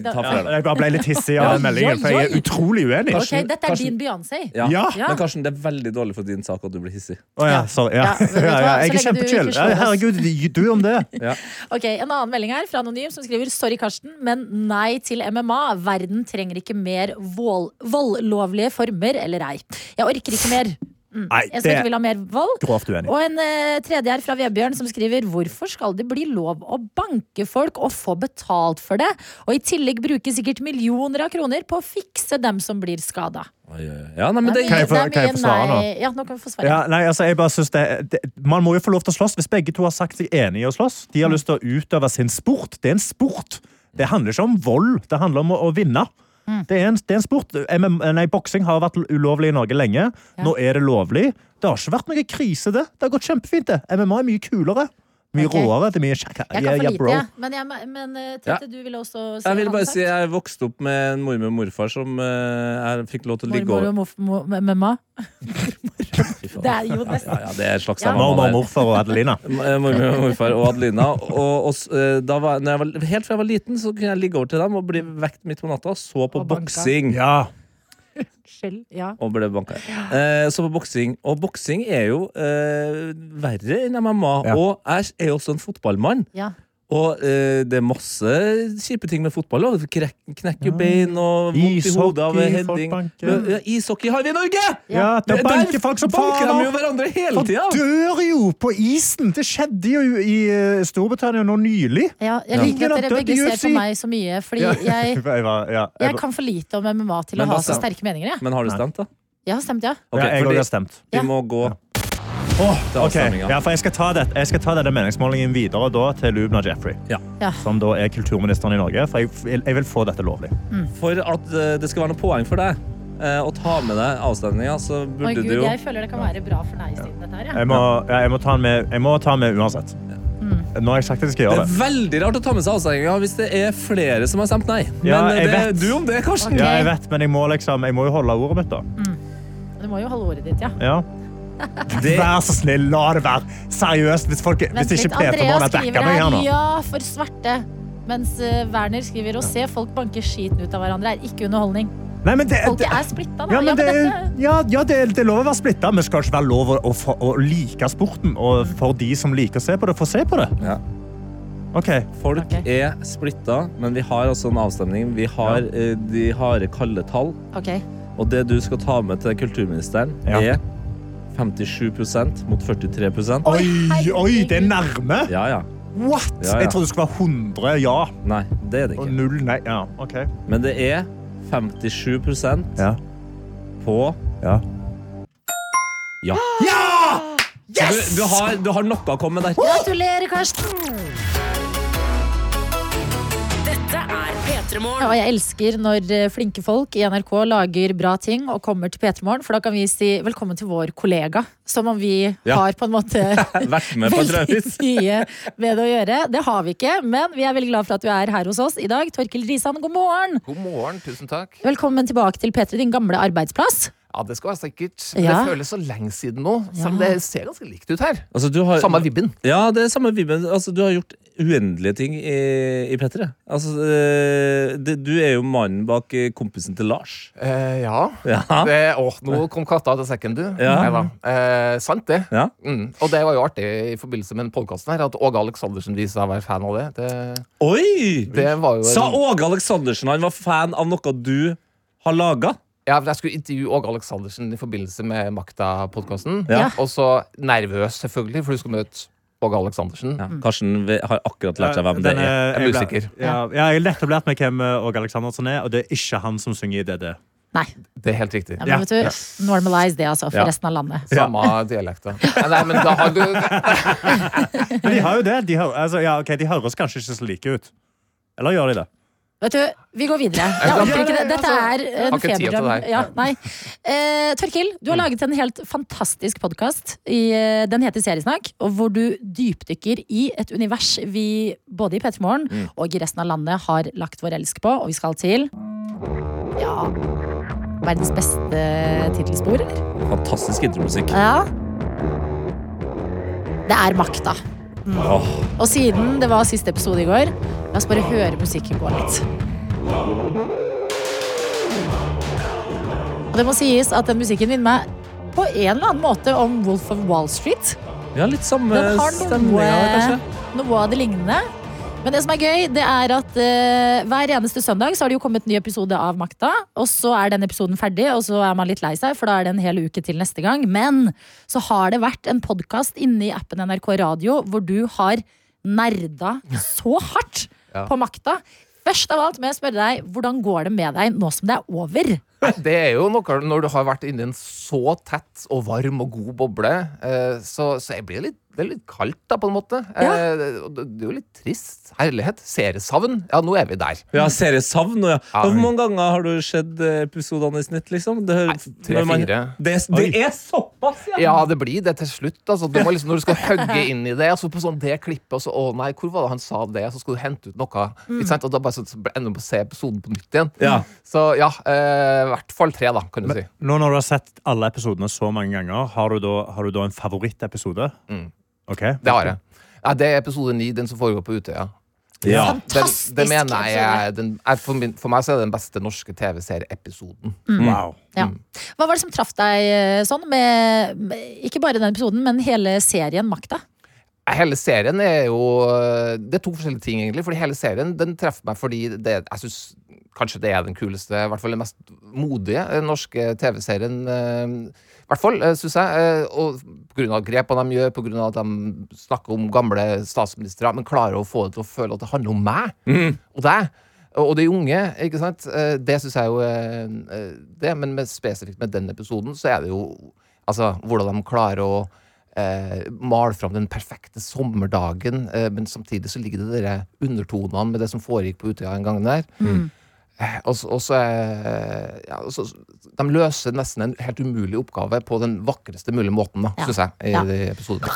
Speaker 3: da-
Speaker 4: ta
Speaker 5: Ja, jeg bare ble litt hissig av den meldingen, for jeg er utrolig uenig.
Speaker 3: Ok, dette er din Beyoncé.
Speaker 4: Ja.
Speaker 5: Ja.
Speaker 4: Men Karsten, det er veldig dårlig for din sak at du blir hissig.
Speaker 5: Å ja, sorry. Ja.
Speaker 3: Ja, vet du hva?
Speaker 5: Ja, ja,
Speaker 3: Så lenge
Speaker 5: jeg er
Speaker 3: du
Speaker 5: kjempechill.
Speaker 3: ikke
Speaker 5: Ja,
Speaker 3: slår oss.
Speaker 5: Herregud, du om det.
Speaker 3: Mm. Ok, En annen melding her fra Anonym som skriver Sorry, Karsten, men nei til MMA. Verden trenger ikke mer vold, voldlovlige former, eller ei. Jeg orker ikke mer.
Speaker 5: Nei,
Speaker 3: Jeg som
Speaker 5: det
Speaker 3: ikke vil ha mer vold.
Speaker 5: Grovt uenig.
Speaker 3: Og en eh, tredje her fra Vebjørn som skriver Hvorfor skal det bli lov å banke folk og få betalt for det? Og i tillegg bruke sikkert millioner av kroner på å fikse dem som blir skada.
Speaker 4: Ja, nei, men det
Speaker 5: Kan jeg få- kan jeg få svare nå?
Speaker 3: Ja, nå kan vi få svare.
Speaker 5: Ja, nei, altså, jeg bare synes det, det, man må jo få lov til å slåss hvis begge to har sagt seg enig i å slåss.
Speaker 3: Mm.
Speaker 5: De har lyst til å utøve sin sport. Det er en sport. Det handler ikke om vold. Det handler om å, å vinne. Det, er en, det er en sport. MM, nei, Boksing har vært ulovlig i Norge lenge. Nå er det lovlig. Det har ikke vært noe krise, det. Det har gått kjempefint. det. MMA er mye kulere. Mye
Speaker 3: Ok.
Speaker 5: råere. Det er mye kjekka.
Speaker 3: Jeg
Speaker 5: Ja,
Speaker 3: kan for
Speaker 5: ja,
Speaker 3: lite,
Speaker 5: bro.
Speaker 3: jeg. Men, jeg, men eh, Tete, du ville også si
Speaker 4: Jeg vil
Speaker 3: en
Speaker 4: bare
Speaker 3: annen
Speaker 4: si
Speaker 3: sak?
Speaker 4: jeg vokste opp med en mormor og morfar som eh, jeg fikk lov til å ligge
Speaker 3: Mormor
Speaker 4: over
Speaker 3: og morf- mo- me- memma.
Speaker 4: Fy faen.
Speaker 3: Det er jo nesten.
Speaker 4: Ja, ja, det er et slags
Speaker 3: Ja.
Speaker 4: sammenheng
Speaker 5: Mormor,
Speaker 4: der.
Speaker 5: morfar og Adelina.
Speaker 4: Eh, Mormor og morfar og Adelina. Og, og s- eh, da var, når jeg var, helt fra jeg var liten, så kunne jeg ligge over til dem og bli vekt midt på natta og så på
Speaker 3: Og banka.
Speaker 4: boksing.
Speaker 5: Ja.
Speaker 3: Skyld, ja.
Speaker 4: Og ble banka. Eh, så på boksing. Og boksing er jo eh, verre enn MMA.
Speaker 5: Ja.
Speaker 4: Og jeg er jo også en fotballmann.
Speaker 3: ja.
Speaker 4: Og eh, det er masse kjipe ting med fotball. Og krek, knekker jo bein og vondt i
Speaker 5: Ishockey,
Speaker 4: hodet av
Speaker 5: folk
Speaker 4: heading.
Speaker 5: banker.
Speaker 4: Ja, Ishockey har vi i Norge!
Speaker 5: ja, det
Speaker 4: Der
Speaker 5: banker folk som
Speaker 4: banker
Speaker 5: faen
Speaker 4: de
Speaker 5: opp.
Speaker 4: jo hverandre hele
Speaker 5: Han
Speaker 4: tida!
Speaker 5: dør jo på isen! Det skjedde jo i eh, Storbritannia nå nylig.
Speaker 3: Ja, jeg liker
Speaker 5: Ingen har
Speaker 3: at dere
Speaker 5: dødd
Speaker 3: begge
Speaker 5: i
Speaker 3: ser
Speaker 5: UFC.
Speaker 3: på meg så mye, fordi jeg,
Speaker 5: var- ja, jeg
Speaker 3: jeg
Speaker 5: var-
Speaker 3: kan for lite om MMA til å
Speaker 4: Men
Speaker 3: ha
Speaker 4: da
Speaker 3: så
Speaker 5: altså-
Speaker 4: stem-
Speaker 3: sterke meninger. Jeg.
Speaker 4: Men har du stemt, da?
Speaker 3: Ja, stemte jeg?
Speaker 4: Ok,
Speaker 5: ja, jeg
Speaker 4: fordi
Speaker 5: også har stemt.
Speaker 3: Ja.
Speaker 4: vi må gå til
Speaker 5: Ok,
Speaker 4: avstemminga.
Speaker 5: ja, for jeg skal, ta det, jeg skal ta denne meningsmålingen videre da, til Lubna Jeffrey,
Speaker 4: Ja.
Speaker 3: Ja.
Speaker 5: som da er kulturministeren i Norge. For jeg, vil- jeg vil få dette lovlig.
Speaker 4: For at eh, det skal være noe poeng for deg eh, å ta med deg avstemninga, så
Speaker 3: Oi,
Speaker 4: burde
Speaker 3: Gud,
Speaker 4: du jo
Speaker 3: jeg føler det kan være bra for nei-siden, dette her.
Speaker 5: Jeg
Speaker 3: jeg.
Speaker 5: må, ja, jeg må ta den med, jeg må ta den med uansett.
Speaker 3: Mm.
Speaker 5: Nå har jeg sagt at jeg skal
Speaker 4: Det
Speaker 5: gjøre
Speaker 4: er
Speaker 5: det.
Speaker 4: veldig rart å ta med seg avstemninga hvis det er flere som har stemt nei. Men
Speaker 5: Ja,
Speaker 4: eh,
Speaker 5: jeg
Speaker 4: det
Speaker 5: vet.
Speaker 4: er du om det, Karsten.
Speaker 5: Ja, jeg vet, men jeg må, liksom, jeg må jo holde ordet mitt, da.
Speaker 3: Mm. Du må jo holde ordet ditt, ja.
Speaker 5: Ja.
Speaker 4: Det-
Speaker 5: Vær så snill, la det være. Seriøst, hvis, folk, hvis
Speaker 3: Vent
Speaker 5: ikke
Speaker 3: litt,
Speaker 5: P3-morgen
Speaker 3: Andreas
Speaker 5: backer
Speaker 3: skriver
Speaker 5: meg her
Speaker 3: her
Speaker 5: nå.
Speaker 3: ja for svarte. Mens eh, Werner skriver å se folk banke skiten ut av hverandre er ikke underholdning.
Speaker 5: Nei, men det,
Speaker 3: Folket
Speaker 5: Eh, det,
Speaker 3: er splitta, da.
Speaker 5: Ja, men det,
Speaker 3: dette-
Speaker 5: ja, ja, det, det er lov å være splitta, men det skal ikke være lov å, å, få- å like sporten. Og for de som liker å se på det, får se på det.
Speaker 4: Ja.
Speaker 5: Ok,
Speaker 4: Folk
Speaker 3: Ok.
Speaker 4: er splitta, men vi har altså en avstemning. Vi har eh, de harde, kalde tall.
Speaker 3: Ok.
Speaker 4: Og det du skal ta med til kulturministeren,
Speaker 5: Ja.
Speaker 4: er 57 mot 43
Speaker 5: Oi, oi, det er nærme!
Speaker 4: Ja, ja.
Speaker 5: What?
Speaker 4: Ja, ja.
Speaker 5: Jeg trodde det skulle være 100 ja
Speaker 4: Nei, det er det
Speaker 5: og
Speaker 4: ikke.
Speaker 5: null nei. Ja, ok.
Speaker 4: Men det er 57
Speaker 5: Ja.
Speaker 4: på
Speaker 5: Ja.
Speaker 4: ja. Yes! Du, du, har, du har noe å komme med der.
Speaker 3: Gratulerer, Karsten!
Speaker 2: Dette er
Speaker 3: Ja,
Speaker 2: P3morgen.
Speaker 3: og jeg elsker når eh, flinke folk i NRK lager bra ting og kommer til P3 Morgen, for da kan vi si velkommen til vår kollega. Som om vi
Speaker 4: Ja.
Speaker 3: har på en måte
Speaker 4: Vært med på
Speaker 3: veldig
Speaker 4: Travis.
Speaker 3: mye med det å gjøre. Det har vi ikke, men vi er veldig glad for at du er her hos oss i dag. Torkil Risan, god morgen!
Speaker 9: God morgen, tusen takk.
Speaker 3: Velkommen tilbake til P3, din gamle arbeidsplass.
Speaker 9: Ja, Det skal være sikkert.
Speaker 3: Ja.
Speaker 9: Det føles så lenge siden nå. Selv om det ser ganske likt ut her.
Speaker 4: Altså, du har,
Speaker 9: Samme vibben.
Speaker 4: Ja, det er samme vibben. Altså, du har gjort uendelige ting i, i P3. Altså, eh, det, du er jo mannen bak eh, kompisen til Lars.
Speaker 9: Eh, ja.
Speaker 4: Ja.
Speaker 9: Det, å, nå kom katta ut av sekken, du.
Speaker 4: Ja.
Speaker 9: Neida. Eh, sant, det.
Speaker 4: Ja.
Speaker 9: Mm. Og det var jo artig i forbindelse med den podkasten her, at Åge Aleksandersen viste seg å være fan av det. Det,
Speaker 4: Oi!
Speaker 9: det var jo en-
Speaker 4: Sa Åge Aleksandersen han var fan av noe du har laga? Ja, for Jeg skulle intervjue Åge Aleksandersen i forbindelse med Makta-podkasten.
Speaker 3: Ja.
Speaker 4: Og så nervøs, selvfølgelig, for du skulle møte Åge Aleksandersen.
Speaker 3: Mm.
Speaker 1: Ja. Karsten ve- har akkurat lært seg hvem det
Speaker 5: Den
Speaker 1: er.
Speaker 4: Jeg er
Speaker 5: eh, jeg ble-
Speaker 4: usikker.
Speaker 5: Ja, ja, jeg har nettopp lært meg hvem eh, Åge Aleksandersen er, og det er ikke han som synger i DD.
Speaker 3: Nei.
Speaker 4: Det er helt riktig.
Speaker 3: Ja,
Speaker 5: Ja.
Speaker 3: men vet du, normalize det, altså, for
Speaker 1: Ja.
Speaker 3: resten av landet.
Speaker 4: Samme dialekt, da. Nei, Nei, men da har du
Speaker 5: Men de har jo det. De, hø- altså, ja, ok, de høres kanskje ikke så like ut. Eller gjør de det?
Speaker 3: Vet du, vi går videre. Jeg orker ikke det. Dette er en
Speaker 4: altså, Har ikke tid til Mm.
Speaker 3: feberdrøm.
Speaker 4: deg.
Speaker 3: Ja, nei. Eh, Torkil, du har laget en helt fantastisk podkast. Den heter Seriesnakk, og hvor du dypdykker i et univers vi både i P3 Morgen
Speaker 4: Mm.
Speaker 3: og i resten av landet har lagt vår elsk på, og vi skal til Ja Verdens beste tittelspor, eller?
Speaker 1: Fantastisk intromusikk.
Speaker 3: Ja. Det er makta.
Speaker 1: Åh,
Speaker 3: Og siden det var siste episode i går, la oss bare høre musikken gå litt. Og det må sies at den musikken minner meg på en eller annen måte om Wolf of Wall Street.
Speaker 1: ja, litt samme
Speaker 3: Den har
Speaker 1: stemninga,
Speaker 3: noe,
Speaker 1: kanskje.
Speaker 3: noe av det lignende. Men det som er gøy, det er at eh, hver eneste søndag så har det jo kommet en ny episode av Makta. Og så er den episoden ferdig, og så er man litt lei seg, for da er det en hel uke til neste gang. Men så har det vært en podkast inne i appen NRK Radio hvor du har nerda så hardt
Speaker 4: Ja.
Speaker 3: på makta. Først av alt må jeg spørre deg, hvordan går det med deg nå som det er over?
Speaker 4: Det er jo noe når du har vært inni en så tett og varm og god boble, eh, så, så jeg blir litt det er litt kaldt, da, på en måte.
Speaker 3: Ja.
Speaker 4: Eh, og Det det er jo litt trist. Herlighet. Seriesavn. Ja, nå er vi der.
Speaker 1: Ja, seriesavn. og Ja.
Speaker 4: Ja.
Speaker 1: Hvor mange ganger har du sett eh, episodene i snitt? liksom? Det, hører-
Speaker 4: Nei, tre,
Speaker 1: når man-
Speaker 4: fire.
Speaker 1: Det, det er såpass, ja!
Speaker 4: Ja, det blir det til slutt. Altså. Du må liksom, når du skal hogge inn i det, og så på sånn det klippet, og så å nei, hvor var det han sa det, og så skal du hente ut noe.
Speaker 3: Mm.
Speaker 4: Ikke sant? Og da bare så, så ender du på å se episoden på nytt igjen.
Speaker 1: Ja.
Speaker 4: Så ja, eh, i hvert fall tre, da, kan du si.
Speaker 5: Nå når du har sett alle episodene så mange ganger, har du da, har du da en favorittepisode? Ok.
Speaker 4: Det har jeg. Ja, det er episode ni, den som foregår på Utøya.
Speaker 5: Ja.
Speaker 4: Den,
Speaker 3: Fantastisk
Speaker 4: den mener jeg
Speaker 3: episode.
Speaker 4: er den, er for, min, for meg så er det den beste norske TV-serieepisoden. Mm.
Speaker 5: Wow.
Speaker 3: Mm. Ja. Hva var det som traff deg eh, sånn med, med ikke bare den episoden, men hele serien Makta?
Speaker 4: Hele serien er jo eh, Det er to forskjellige ting, egentlig. Fordi hele serien den treffer meg fordi det, jeg syns kanskje det er den kuleste, i hvert fall den mest modige eh, norske TV-serien. eh, I hvert fall, syns jeg. eh, Og pga. grepene de gjør, pga. at de snakker om gamle statsministre, men klarer å få det til å føle at det handler om meg og deg. Og de unge, ikke sant. Eh, Det syns jeg jo eh, eh, det, Men med, spesifikt med den episoden, så er det jo altså, hvordan de klarer å eh, male fram den perfekte sommerdagen, eh, men samtidig så ligger det de undertonene med det som foregikk på Utøya en gang der.
Speaker 3: Mm.
Speaker 4: Eh, Og, så- og så er- ja, og så, De løser nesten en helt umulig oppgave på den vakreste mulige måten, da,
Speaker 3: Ja.
Speaker 4: syns jeg. i
Speaker 3: Ja.
Speaker 4: de episodene.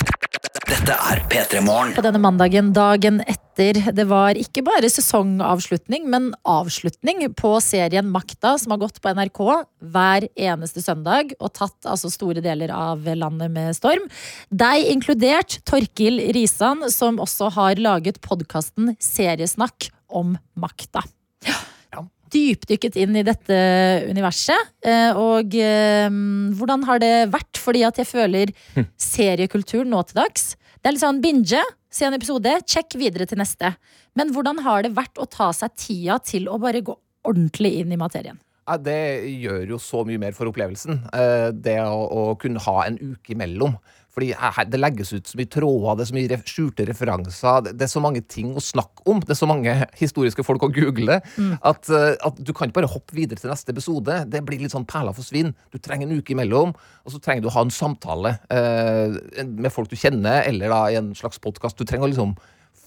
Speaker 10: Dette er P3 Morgen.
Speaker 3: på denne mandagen dagen etter. Det var ikke bare sesongavslutning, men avslutning på serien Makta, som har gått på NRK hver eneste søndag og tatt altså store deler av landet med storm. Deg inkludert, Torkil Risan, som også har laget podkasten Seriesnakk om makta. Dypdykket inn i dette universet. eh, Og eh, hvordan har det vært? Fordi at jeg føler seriekultur nå til dags. Det er litt sånn binge, se en episode, check videre til neste. Men hvordan har det vært å ta seg tida til å bare gå ordentlig inn i materien?
Speaker 4: Ja, det gjør jo så mye mer for opplevelsen. eh, Det å, å kunne ha en uke imellom. Fordi her, det legges ut så mye tråder, det er så mye ref- skjulte referanser. Det, det er så mange ting å snakke om. Det er så mange historiske folk å google. At, eh, at du kan ikke bare hoppe videre til neste episode. Det blir litt sånn perler for svinn. Du trenger en uke imellom, og så trenger du å ha en samtale eh, med folk du kjenner, eller da i en slags podkast. Du trenger å liksom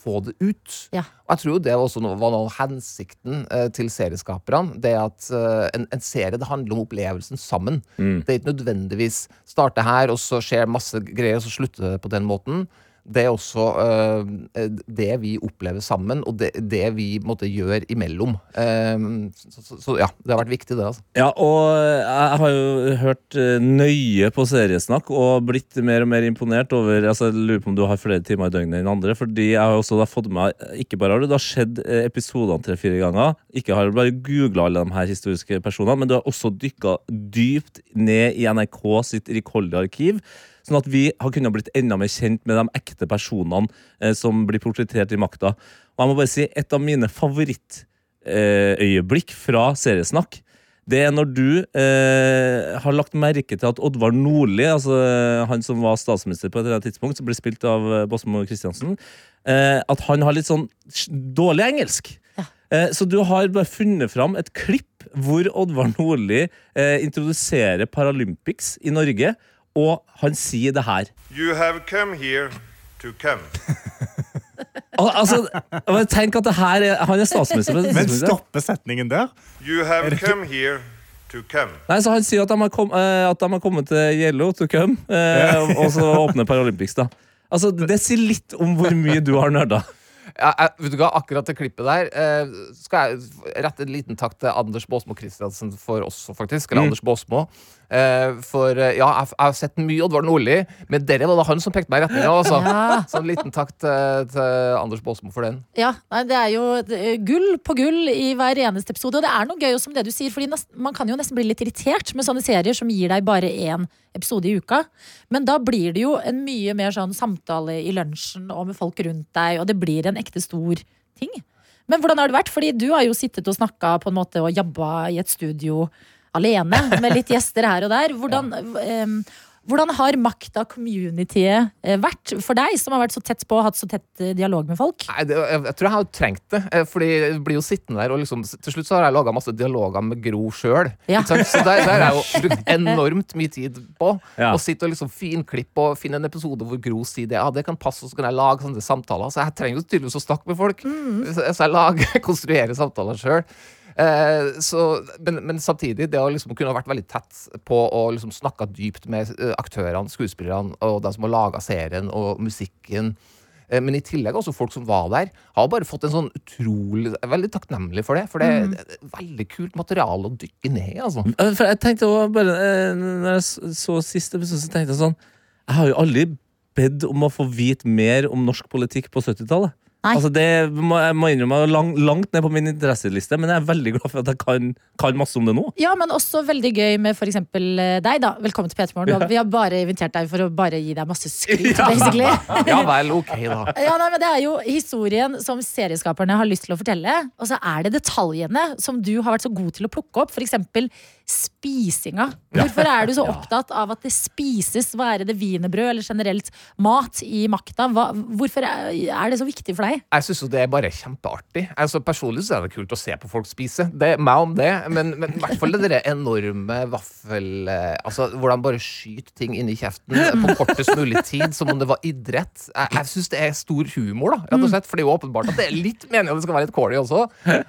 Speaker 4: få det ut.
Speaker 3: Ja.
Speaker 4: Og jeg tror jo det var også noe, var noe av hensikten eh, til serieskaperne. Det at eh, en, en serie det handler om opplevelsen sammen.
Speaker 1: Mm.
Speaker 4: Det er ikke nødvendigvis starte her, og så skjer masse greier, og så slutter det på den måten. Det er også eh, det vi opplever sammen, og det, det vi på en måte, gjør imellom. Eh, så, så, så ja, det har vært viktig, det. altså.
Speaker 1: Ja, og eh, jeg har jo hørt eh, nøye på seriesnakk og blitt mer og mer imponert over altså Jeg lurer på om du har flere timer i døgnet enn andre. Fordi jeg har også da fått med meg Ikke bare har du da sett eh, episodene tre-fire ganger, ikke har du bare googla alle de her historiske personene, men du har også dykka dypt ned i NRK sitt rikholdige arkiv. Sånn at vi har kunnet blitt enda mer kjent med de ekte personene eh, som blir portrettert i makta. Og jeg må bare si, et av mine favorittøyeblikk eh, øyeblikk fra seriesnakk
Speaker 4: det er når du eh, har lagt merke til at Oddvar Nordli, altså han som var statsminister på et eller annet tidspunkt, som ble spilt av eh, Båsmo Christiansen, eh, at han har litt sånn sj- dårlig engelsk. Eh, Så du har bare funnet fram et klipp hvor Oddvar Nordli eh, introduserer Paralympics i Norge, og han sier det her.
Speaker 11: You have come here to come.
Speaker 4: Al altså, men tenk at det her er, Han er statsminister. på det
Speaker 5: Men
Speaker 4: tidspunktet.
Speaker 5: stopper setningen der?
Speaker 11: You have come here to come.
Speaker 4: Nei, så Han sier at de har, kom, eh, at de har kommet til Yellow to come, eh, og så åpner Paralympics. da Altså, Det sier litt om hvor mye du har nerda.
Speaker 9: Ja, jeg, vet du hva, akkurat det klippet der eh, skal jeg rette en liten takk til Anders Baasmo Christiansen for også, faktisk.
Speaker 4: Mm.
Speaker 9: Eller Anders Baasmo. Eh, for eh, ja, jeg, jeg har sett mye Oddvar Nordli, men dere var det han som pekte meg i retninga. Altså. Så en liten takk til, til Anders Baasmo for den.
Speaker 3: Ja, nei, Det er jo eh, gull på gull i hver eneste episode. Og det er noe gøy som det du sier, Fordi nest- man kan jo nesten bli litt irritert med sånne serier som gir deg bare én episode i uka. Men da blir det jo en mye mer sånn samtale i lunsjen og med folk rundt deg, og det blir en ekte stor ting. Men hvordan har det vært? Fordi du har jo sittet og snakka på en måte og jabba i et studio alene med litt gjester her og der. Hvordan, em, hvordan har makta, communityet, eh, vært for deg, som har vært så tett på og hatt så tett eh, dialog med folk?
Speaker 9: Nei, det, jeg, jeg tror jeg har trengt det. eh, Fordi jeg blir jo sittende der og liksom, Til slutt så har jeg laga masse dialoger med Gro sjøl.
Speaker 3: Ja.
Speaker 9: Så der, der har jeg jo brukt enormt mye tid på
Speaker 4: Ja.
Speaker 9: å sitte og liksom finklippe og finne en episode hvor Gro sier det. Ja, det kan passe, og så kan jeg lage sånne samtaler. Så jeg trenger jo tydeligvis å snakke med folk. Så, så jeg lager, konstruerer samtaler sjøl. Eh, så, men, men samtidig, det å liksom kunne ha vært veldig tett på å liksom snakke dypt med eh, aktørene, skuespillerne og de som har laga serien og musikken. Eh, Men i tillegg også folk som var der, har bare fått en sånn utrolig Jeg er veldig takknemlig for det, for det er det er veldig kult materiale å dykke ned i, altså.
Speaker 4: Eh, For jeg tenkte også bare eh, Når jeg s- så siste episode, så tenkte jeg sånn Jeg har jo aldri bedt om å få vite mer om norsk politikk på 70-tallet.
Speaker 3: Nei.
Speaker 4: Altså det må jeg må innrømme er lang, langt ned på min interesseliste, men jeg er veldig glad for at jeg kan, kan masse om det nå.
Speaker 3: Ja, men også veldig gøy med for eksempel eh, deg, da. Velkommen til P3 Morgen. Vi har bare invitert deg for å bare gi deg masse skryt, basically.
Speaker 9: Ja vel, ok, da.
Speaker 3: Ja, nei, men Det er jo historien som serieskaperne har lyst til å fortelle. Og så er det detaljene som du har vært så god til å plukke opp. F.eks. spisinga. Hvorfor er du så opptatt av at det spises? Hva er det wienerbrød eller generelt mat i makta? Hva, hvorfor er er det så viktig for deg?
Speaker 9: Jeg syns jo det er bare kjempeartig. Altså, personlig så er det kult å se på folk spise. Det er meg om det, men, men i hvert fall det der enorme vaffel... eh, Altså, hvor de bare skyter ting inni kjeften eh, på kortest mulig tid, som om det var idrett. Jeg, jeg syns det er stor humor, da, rett og slett. For det er jo åpenbart at det er litt meninga det skal være litt corny også.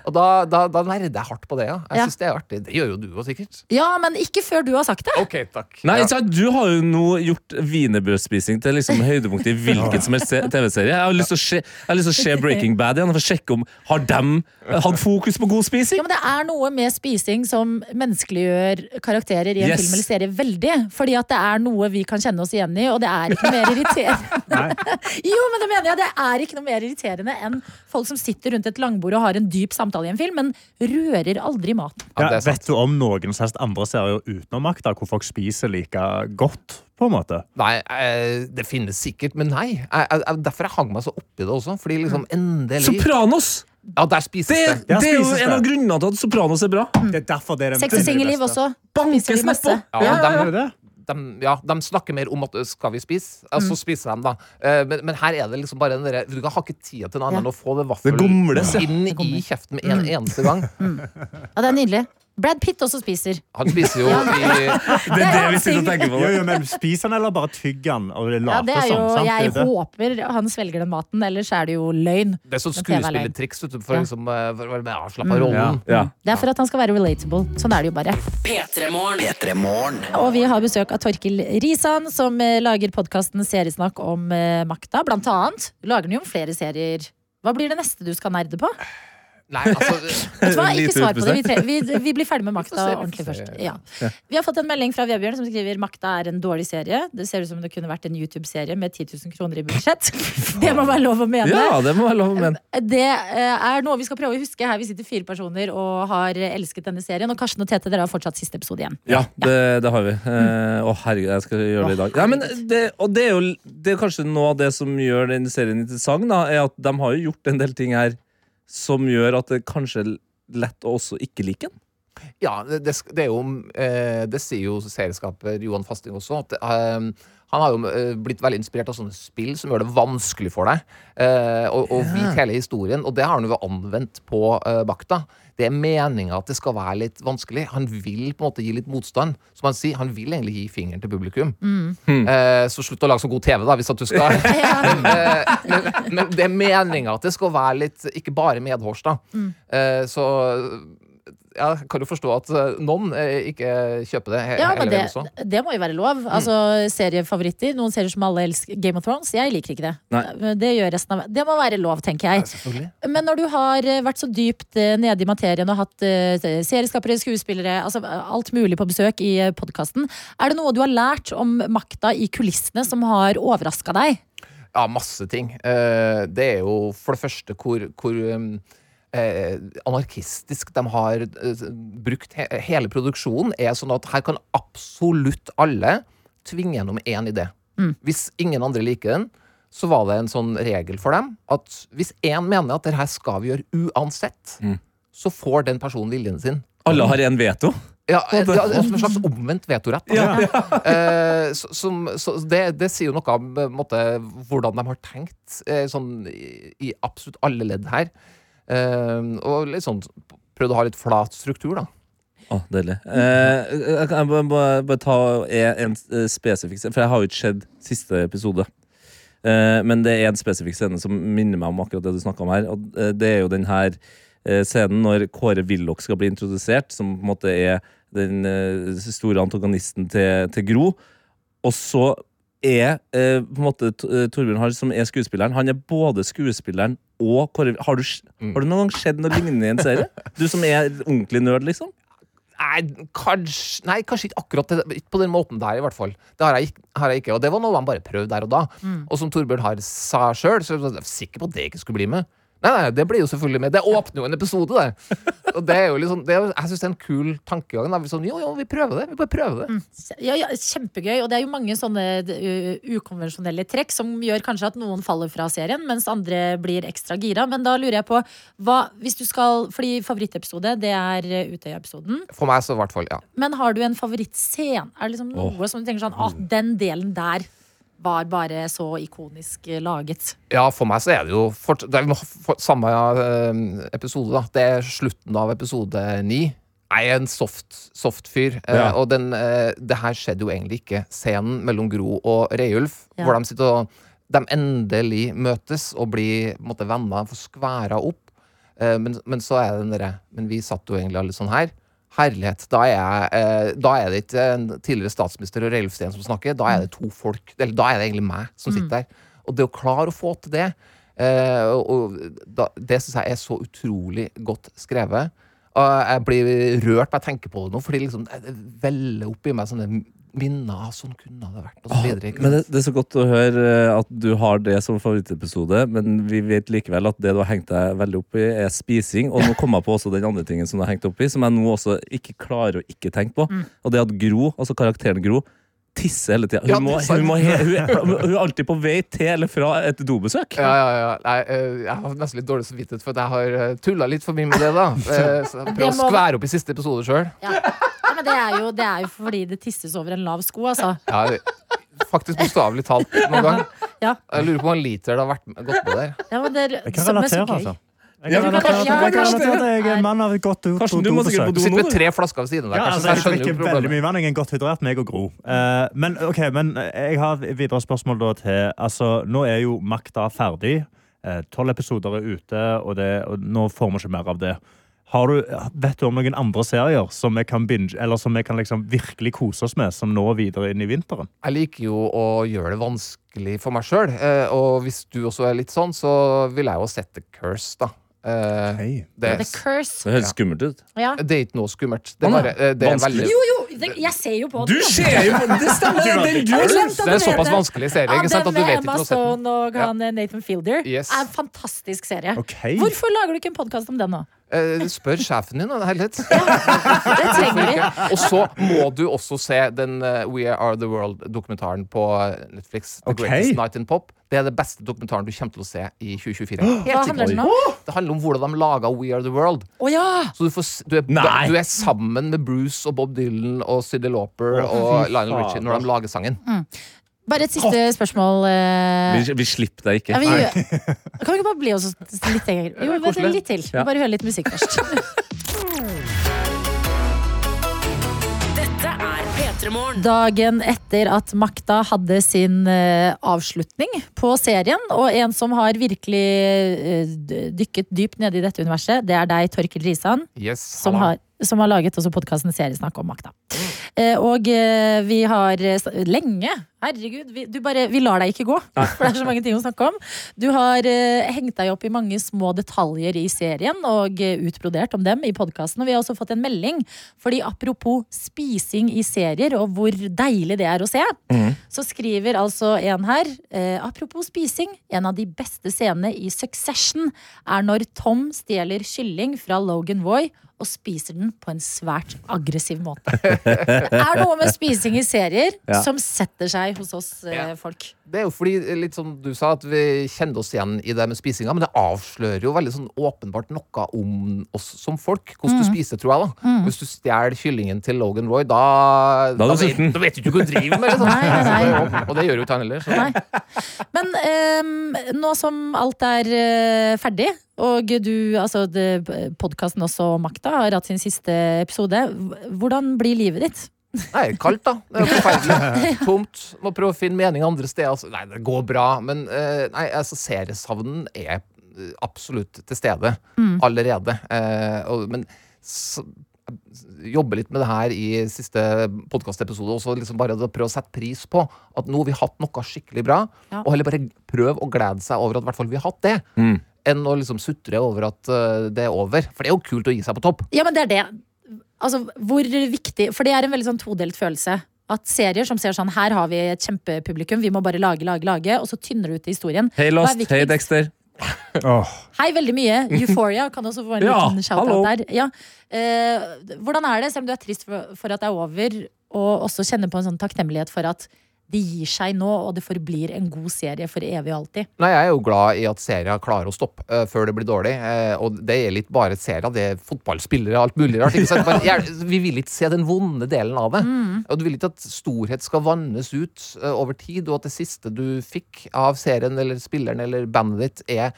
Speaker 9: Og da, da, da nerder jeg hardt på det, ja.
Speaker 3: Ja.
Speaker 9: Jeg syns det er artig. Det gjør jo du òg, sikkert.
Speaker 3: Ja, men ikke før du har sagt det.
Speaker 9: Ok, takk.
Speaker 4: Nei,
Speaker 9: Ja.
Speaker 4: ikke sant? Du har jo nå gjort wienerbrødspising til liksom høydepunktet i hvilken som helst se- TV-serie. Jeg har lyst til å se, jeg har lyst til å se Breaking Bad igjen for å sjekke om har dem hatt fokus på god
Speaker 3: Ja,
Speaker 4: spising.
Speaker 3: men Det er noe med spising som menneskeliggjør karakterer i en
Speaker 4: Yes.
Speaker 3: film eller serie veldig. Fordi at det er noe vi kan kjenne oss igjen i, og det er ikke noe mer irriterende. jo, men det mener jeg, det er ikke noe mer irriterende enn folk som sitter rundt et langbord og har en dyp samtale i en film, men rører aldri maten.
Speaker 9: Ja, det
Speaker 5: Ja,
Speaker 9: er sant.
Speaker 5: vet du om noen som helst andre serier utenom makta hvor folk spiser like godt? på en måte?
Speaker 9: Nei, eh, det finnes sikkert, men nei. Jeg, jeg, jeg, derfor jeg hang meg så oppi det også. Fordi liksom endelig
Speaker 4: Sopranos!
Speaker 9: Ja, der spises
Speaker 4: Mm. Det,
Speaker 9: det.
Speaker 5: Ja,
Speaker 4: det er jo
Speaker 5: spises det.
Speaker 4: en av grunnene til at Sopranos er bra.
Speaker 5: Det er derfor det er den
Speaker 3: Sex og singelliv også. spiser de
Speaker 4: Bankes
Speaker 3: masse.
Speaker 4: nedpå!
Speaker 9: Ja,
Speaker 5: Er
Speaker 9: de,
Speaker 5: det det?
Speaker 9: de, ja, de snakker mer om at ø, skal vi spise? Ja,
Speaker 4: Mm.
Speaker 9: så spiser de, da. Eh, Men, men her er det liksom bare den derre Du kan ha ikke tida til noe annet enn å få det
Speaker 4: Det Mm. gomles, ja.
Speaker 9: vaffelet inn i kjeften med en eneste gang.
Speaker 3: Ja, det er nydelig. Brad Pitt også spiser.
Speaker 9: Han spiser jo i
Speaker 4: Det er det vi sitter og tenker
Speaker 5: Jo,
Speaker 4: på.
Speaker 5: jo, men Spiser han eller bare tygger han? Og sånn,
Speaker 3: Ja, det er jo, Jeg
Speaker 5: later som.
Speaker 3: håper han svelger den maten, ellers er det jo løgn.
Speaker 9: Det er sånn
Speaker 3: Men TV er lei.
Speaker 9: skuespillertriks vet du, for,
Speaker 3: Ja.
Speaker 9: liksom, eh, for å være mer avslappa i rollen.
Speaker 4: Ja.
Speaker 3: Det er for at han skal være relatable. Sånn er det jo bare.
Speaker 2: P3morgen.
Speaker 1: P3morgen.
Speaker 3: Og vi har besøk av Torkil Risan, som eh, lager podkasten Seriesnakk om eh, makta. Blant annet lager den jo om flere serier. Hva blir det neste du skal nerde på?
Speaker 9: Nei, altså
Speaker 3: Vet du hva? Ikke
Speaker 4: Lite
Speaker 3: svar på det. Vi,
Speaker 4: utbestemt.
Speaker 3: tre, vi, vi blir ferdig med
Speaker 9: Vi får
Speaker 3: makta
Speaker 9: se, vi får
Speaker 3: ordentlig
Speaker 9: se.
Speaker 3: først. Ja. Vi har fått en melding fra Vebjørn som skriver makta er en dårlig serie. Det ser ut som det kunne vært en YouTube-serie med 10 000 kroner i budsjett. Det må være lov å mene.
Speaker 4: ja, det må være lov å mene.
Speaker 3: Det eh, er noe vi skal prøve å huske. Her vi sitter fire personer og har eh, elsket denne serien. Og Karsten og Tete, dere har fortsatt siste episode igjen.
Speaker 4: Ja, det, det har vi. Eh, Å, herregud, jeg skal gjøre det i dag. Nei, men det, og det er jo det er kanskje noe av det som gjør den serien interessant, da, er at de har jo gjort en del ting her som gjør at det kanskje er lett å også ikke like den. Ja, det, det, sk- det er jo eh, Det sier jo serieskaper Johan Fasting også. At, eh, han har jo eh, blitt veldig inspirert av sånne spill som gjør det vanskelig for deg eh, å å vite hele historien. Og det har han jo anvendt på eh, Bakta. Det er meninga at det skal være litt vanskelig. Han vil på en måte gi litt motstand. Som han sier, han vil egentlig gi fingeren til publikum.
Speaker 3: Mm.
Speaker 4: Eh, så slutt å lage så god TV, da, hvis at du skal. Eh, men, men det er meninga at det skal være litt Ikke bare medhårs, da.
Speaker 3: Mm.
Speaker 4: Eh, så ja, kan jo forstå at eh, noen eh, ikke kjøper det he
Speaker 3: Ja, men
Speaker 4: hele
Speaker 3: det,
Speaker 4: veien også. Mm.
Speaker 3: det må jo være lov. Altså, Seriefavoritter. Noen serier som alle elsker. Game of Thrones. Jeg liker ikke det.
Speaker 8: Nei.
Speaker 3: Det gjør resten av Det må være lov, tenker jeg.
Speaker 4: selvfølgelig.
Speaker 3: Men når du har eh, vært så dypt eh, nede i materien og hatt eh, serieskapere, skuespillere, altså eh, alt mulig på besøk i podkasten, er det noe du har lært om makta i kulissene som har overraska deg?
Speaker 4: Ja, masse ting. Eh, det er jo for det første hvor, hvor um, eh, anarkistisk de har eh, brukt he hele produksjonen. er sånn at her kan absolutt alle tvinge gjennom én idé. Hvis ingen andre liker den, så var det en sånn regel for dem at hvis én mener at det her skal vi gjøre uansett, så får den personen viljen sin.
Speaker 8: Mm. Alle har én veto.
Speaker 4: Ja, ja, som en slags omvendt vetorett. da. Eh, så, som, så det, det sier jo noe om eh, måte, hvordan de har tenkt eh, sånn, i, i absolutt alle ledd her. Eh, og litt sånn prøvd å ha litt flat struktur, da.
Speaker 8: Å, deilig. Eh, jeg kan jeg bare, bare, bare ta en, en eh, spesifikk scene, for jeg har jo ikke sett siste episode. Eh, men det er en spesifikk scene som minner meg om akkurat det du snakka om her. Og eh, det er jo den her eh, scenen når Kåre Willoch skal bli introdusert, som på en måte er den eh, store antagonisten til, til Gro. Og så er eh, på en måte T- eh, Torbjørn Harr, som er skuespilleren, han er både skuespilleren og Kåre Har du, s-
Speaker 4: Mm.
Speaker 8: har du noen gang sett noe lignende i en serie? Du som er ordentlig nerd, liksom?
Speaker 4: Nei, kanskje, nei, kanskje ikke akkurat det, ikke på den måten der, i hvert fall. Det har jeg, ikk- har jeg ikke, og det var noe han bare prøvde der og da. Og som Torbjørn Harr sa sjøl, så er jeg sikker på at det ikke skulle bli med. Nei, nei, det blir jo selvfølgelig med. Det åpner jo en episode, det. Og det er jo liksom, det er, jo- jeg syns det er en kul tankegang. Da. Vi sånn, jo, jo, vi prøver det. Vi bare prøver det.
Speaker 3: Ja, ja, kjempegøy, og det er jo mange sånne ø, ukonvensjonelle trekk som gjør kanskje at noen faller fra serien, mens andre blir ekstra gira. Men da lurer jeg på hva, hvis du skal, fordi favorittepisode, det er ø, Utøya-episoden.
Speaker 4: For meg så i hvert fall, ja.
Speaker 3: Men har du en favorittscene? Er det liksom noe som du tenker sånn at den delen der var bare så ikonisk ø, laget?
Speaker 4: Ja, for meg så er det jo fort, det er jo for, samme eh, episode, da. Det er slutten av episode ni. Jeg er en soft, soft fyr, eh,
Speaker 8: Ja.
Speaker 4: og den, eh, det her skjedde jo egentlig ikke. Scenen mellom Gro og Reiulf,
Speaker 3: Ja.
Speaker 4: hvor de sitter og de endelig møtes og blir på en måte, venner, får skværa opp. Eh, men, men så er det den derre Men vi satt jo egentlig alle sånn her. Herlighet. Da er, jeg, eh, da er det ikke en tidligere statsminister og Reilf Steen som snakker, da er det to folk. Eller da er det egentlig meg som sitter der. Og det å klare å få til det, eh, og, og da, det syns jeg er så utrolig godt skrevet. Og jeg blir rørt når jeg tenker på det nå, fordi liksom, det veller opp i meg sånne minner. av Sånn kunne det vært, og så videre. ikke
Speaker 8: Men det,
Speaker 4: sant?
Speaker 8: det er så godt å høre eh, at du har det som favorittepisode, men vi vet likevel at det du har hengt deg veldig opp i, er spising. Og nå kom jeg på også den andre tingen som du har hengt opp i, som jeg nå også ikke klarer å ikke tenke på. Og det er at Gro, altså karakteren Gro, tisser hele tida. Hun,
Speaker 4: Ja,
Speaker 8: må-
Speaker 4: det er sant.
Speaker 8: hun, må he- hun, er- hun er alltid på vei til eller fra et dobesøk.
Speaker 4: Ja, ja, ja. Nei, eh, jeg har nesten litt dårlig samvittighet for at jeg har tulla litt for mye med det. da Eh, så jeg Prøv å
Speaker 3: Det må-
Speaker 4: skvære opp i siste episode sjøl.
Speaker 3: Ja. ja, men det er, jo, det er jo fordi det tisses over en lav sko, altså.
Speaker 4: Ja, det- faktisk bokstavelig talt noen gang.
Speaker 3: Ja,
Speaker 4: Jeg lurer på om en liter det har vært gått med der.
Speaker 3: ja men det er
Speaker 5: Jeg kan
Speaker 3: som er så
Speaker 5: relatere,
Speaker 3: gøy.
Speaker 5: altså. Jeg
Speaker 8: Ja,
Speaker 5: kan
Speaker 8: men
Speaker 5: relatere,
Speaker 8: Karsten,
Speaker 5: til- jeg kan
Speaker 8: Karsten,
Speaker 5: relatere til at jeg er en mann av et godt do-
Speaker 8: Karsten, du må
Speaker 5: dopesøk.
Speaker 8: sikkert
Speaker 4: Du
Speaker 8: på do nå,
Speaker 4: sitter med
Speaker 8: du.
Speaker 4: tre flasker ved siden av deg.
Speaker 5: Ja,
Speaker 4: kanskje, så
Speaker 5: altså,
Speaker 4: jeg
Speaker 5: jeg
Speaker 4: skjønner jo
Speaker 5: drikker veldig
Speaker 4: problemet.
Speaker 5: mye vann. Jeg er godt hydrert, meg og Gro. Eh, men ok, men eh, jeg har videre spørsmål da til altså, Nå er jo makta ferdig. Eh, Tolv episoder er ute, og, det, og nå får vi ikke mer av det. Har du, vet du om noen andre serier som vi kan, binge, eller som vi kan liksom virkelig kose oss med, som nå videre inn i vinteren?
Speaker 4: Jeg liker jo å gjøre det vanskelig for meg sjøl. Eh, og hvis du også er litt sånn, så vil jeg jo sette curse, da. Eh,
Speaker 5: Hei.
Speaker 3: The
Speaker 4: det,
Speaker 3: curse.
Speaker 8: Det høres skummelt ut.
Speaker 3: Ja.
Speaker 4: det er ikke noe skummelt. Det er, bare, eh, det er
Speaker 8: Vanskelig.
Speaker 4: veldig
Speaker 3: Jo, jo, det, jeg ser jo på den.
Speaker 8: ser jo Det stemmer! det er den du har glemt.
Speaker 4: Det er en såpass vanskelig serie ikke sant, at du vet ikke
Speaker 3: Emma
Speaker 4: prosessen.
Speaker 3: Stone og han, eh, Nathan Fielder.
Speaker 4: Yes.
Speaker 3: Er en fantastisk serie.
Speaker 5: Ok.
Speaker 3: Hvorfor lager du ikke en podkast om den nå?
Speaker 4: Eh, spør sjefen din, da. det er helt lett.
Speaker 3: Det trenger vi.
Speaker 4: Og så må du også se den eh, We Are The World-dokumentaren på eh, Netflix. The
Speaker 5: Ok.
Speaker 4: Greatest Night in Pop. Det er det beste dokumentaren du kommer til å se i 2024.
Speaker 3: Hva
Speaker 4: Helt
Speaker 3: handler den
Speaker 4: sikkert.
Speaker 3: om?
Speaker 4: Det handler om hvordan de laga We Are The World.
Speaker 3: Å ja!
Speaker 4: Så du, får, s- du, er,
Speaker 1: Nei.
Speaker 4: du er sammen med Bruce og Bob Dylan og Cyndi Lauper og Lionel Richie når de lager sangen.
Speaker 3: Bare et siste spørsmål. eh,
Speaker 1: Vi, vi slipper deg
Speaker 3: Ja,
Speaker 1: ikke.
Speaker 3: vi, kan vi ikke bare bli oss litt lenger? Jo, vent litt til. Vi bare hører litt musikk først.
Speaker 2: Dette er P3 Morgen.
Speaker 3: Dagen etter at makta hadde sin eh, avslutning på serien, og en som har virkelig eh, d- dykket dypt nede i dette universet, det er deg, Torkil Risan,
Speaker 4: Yes,
Speaker 3: som
Speaker 4: halla.
Speaker 3: har, som har laget også podkasten Seriesnakk om makta. Eh, Og eh, vi har eh, s- lenge Herregud, vi, du bare, vi lar deg ikke gå. For det er så mange ting å snakke om. Du har eh, hengt deg opp i mange små detaljer i serien og eh, utbrodert om dem i podkasten. Og vi har også fått en melding, fordi apropos spising i serier og hvor deilig det er å se, så skriver altså en her eh, Apropos spising, en av de beste scenene i Succession er når Tom stjeler kylling fra Logan Roy og spiser den på en svært aggressiv måte. Det er noe med spising i serier
Speaker 1: Ja.
Speaker 3: som setter seg hos oss eh,
Speaker 4: Ja.
Speaker 3: folk.
Speaker 4: Det er jo fordi, eh, litt som du sa, at vi kjenner oss igjen i det med spisinga, men det avslører jo veldig sånn åpenbart noe om oss som folk. Hvordan
Speaker 3: Mm.
Speaker 4: du spiser, tror jeg. da. Hvis du stjeler kyllingen til Logan Roy, da
Speaker 1: Da er du
Speaker 4: vet,
Speaker 1: sulten.
Speaker 4: da vet du ikke hva du driver med! Liksom.
Speaker 3: Nei, nei, nei.
Speaker 4: Og det gjør jo ikke han heller. Så.
Speaker 3: Nei. Men ehm, nå som alt er eh, ferdig, og du, altså podkasten også og Makta har hatt sin siste episode, h- hvordan blir livet ditt?
Speaker 4: Nei, kaldt, da. Det er jo forferdelig. Tomt. Må prøve å finne mening andre steder. Altså, nei, det går bra, men eh, nei, altså, seriesavnen er eh, absolutt til stede
Speaker 3: Mm.
Speaker 4: allerede. Eh, og, men s- jobbe litt med det her i siste podkastepisode også. Liksom bare å prøve å sette pris på at nå har vi hatt noe skikkelig bra,
Speaker 3: Ja.
Speaker 4: og heller bare prøve å glede seg over at i hvert fall vi har hatt det. Enn å liksom sutre over at eh, det er over. For det er jo kult å gi seg på topp.
Speaker 3: Ja, men det er det. Altså, hvor viktig For det er en veldig sånn todelt følelse. At serier som ser sånn her har vi et kjempepublikum, vi må bare lage, lage, lage, og så tynner det ut i historien.
Speaker 1: Hei,
Speaker 3: Hva er
Speaker 1: Lost. Hei,
Speaker 3: viktigst?
Speaker 1: Dexter.
Speaker 3: Hei, veldig mye. Euphoria kan også få en
Speaker 1: Ja,
Speaker 3: liten shout-out
Speaker 1: hallo.
Speaker 3: der. Ja. Eh, hvordan er det, selv om du er trist for, for at det er over, og også kjenner på en sånn takknemlighet for at de gir seg nå, og det forblir en god serie for evig og alltid?
Speaker 4: Nei, Jeg er jo glad i at serier klarer å stoppe eh, før det blir dårlig. eh, og det er litt bare serier. Det er fotballspillere og alt mulig rart. Ikke sant? Bare, jeg, vi vil ikke se den vonde delen av det. Og Du vil ikke at storhet skal vannes ut eh, over tid, og at det siste du fikk av serien eller spilleren eller bandet ditt, er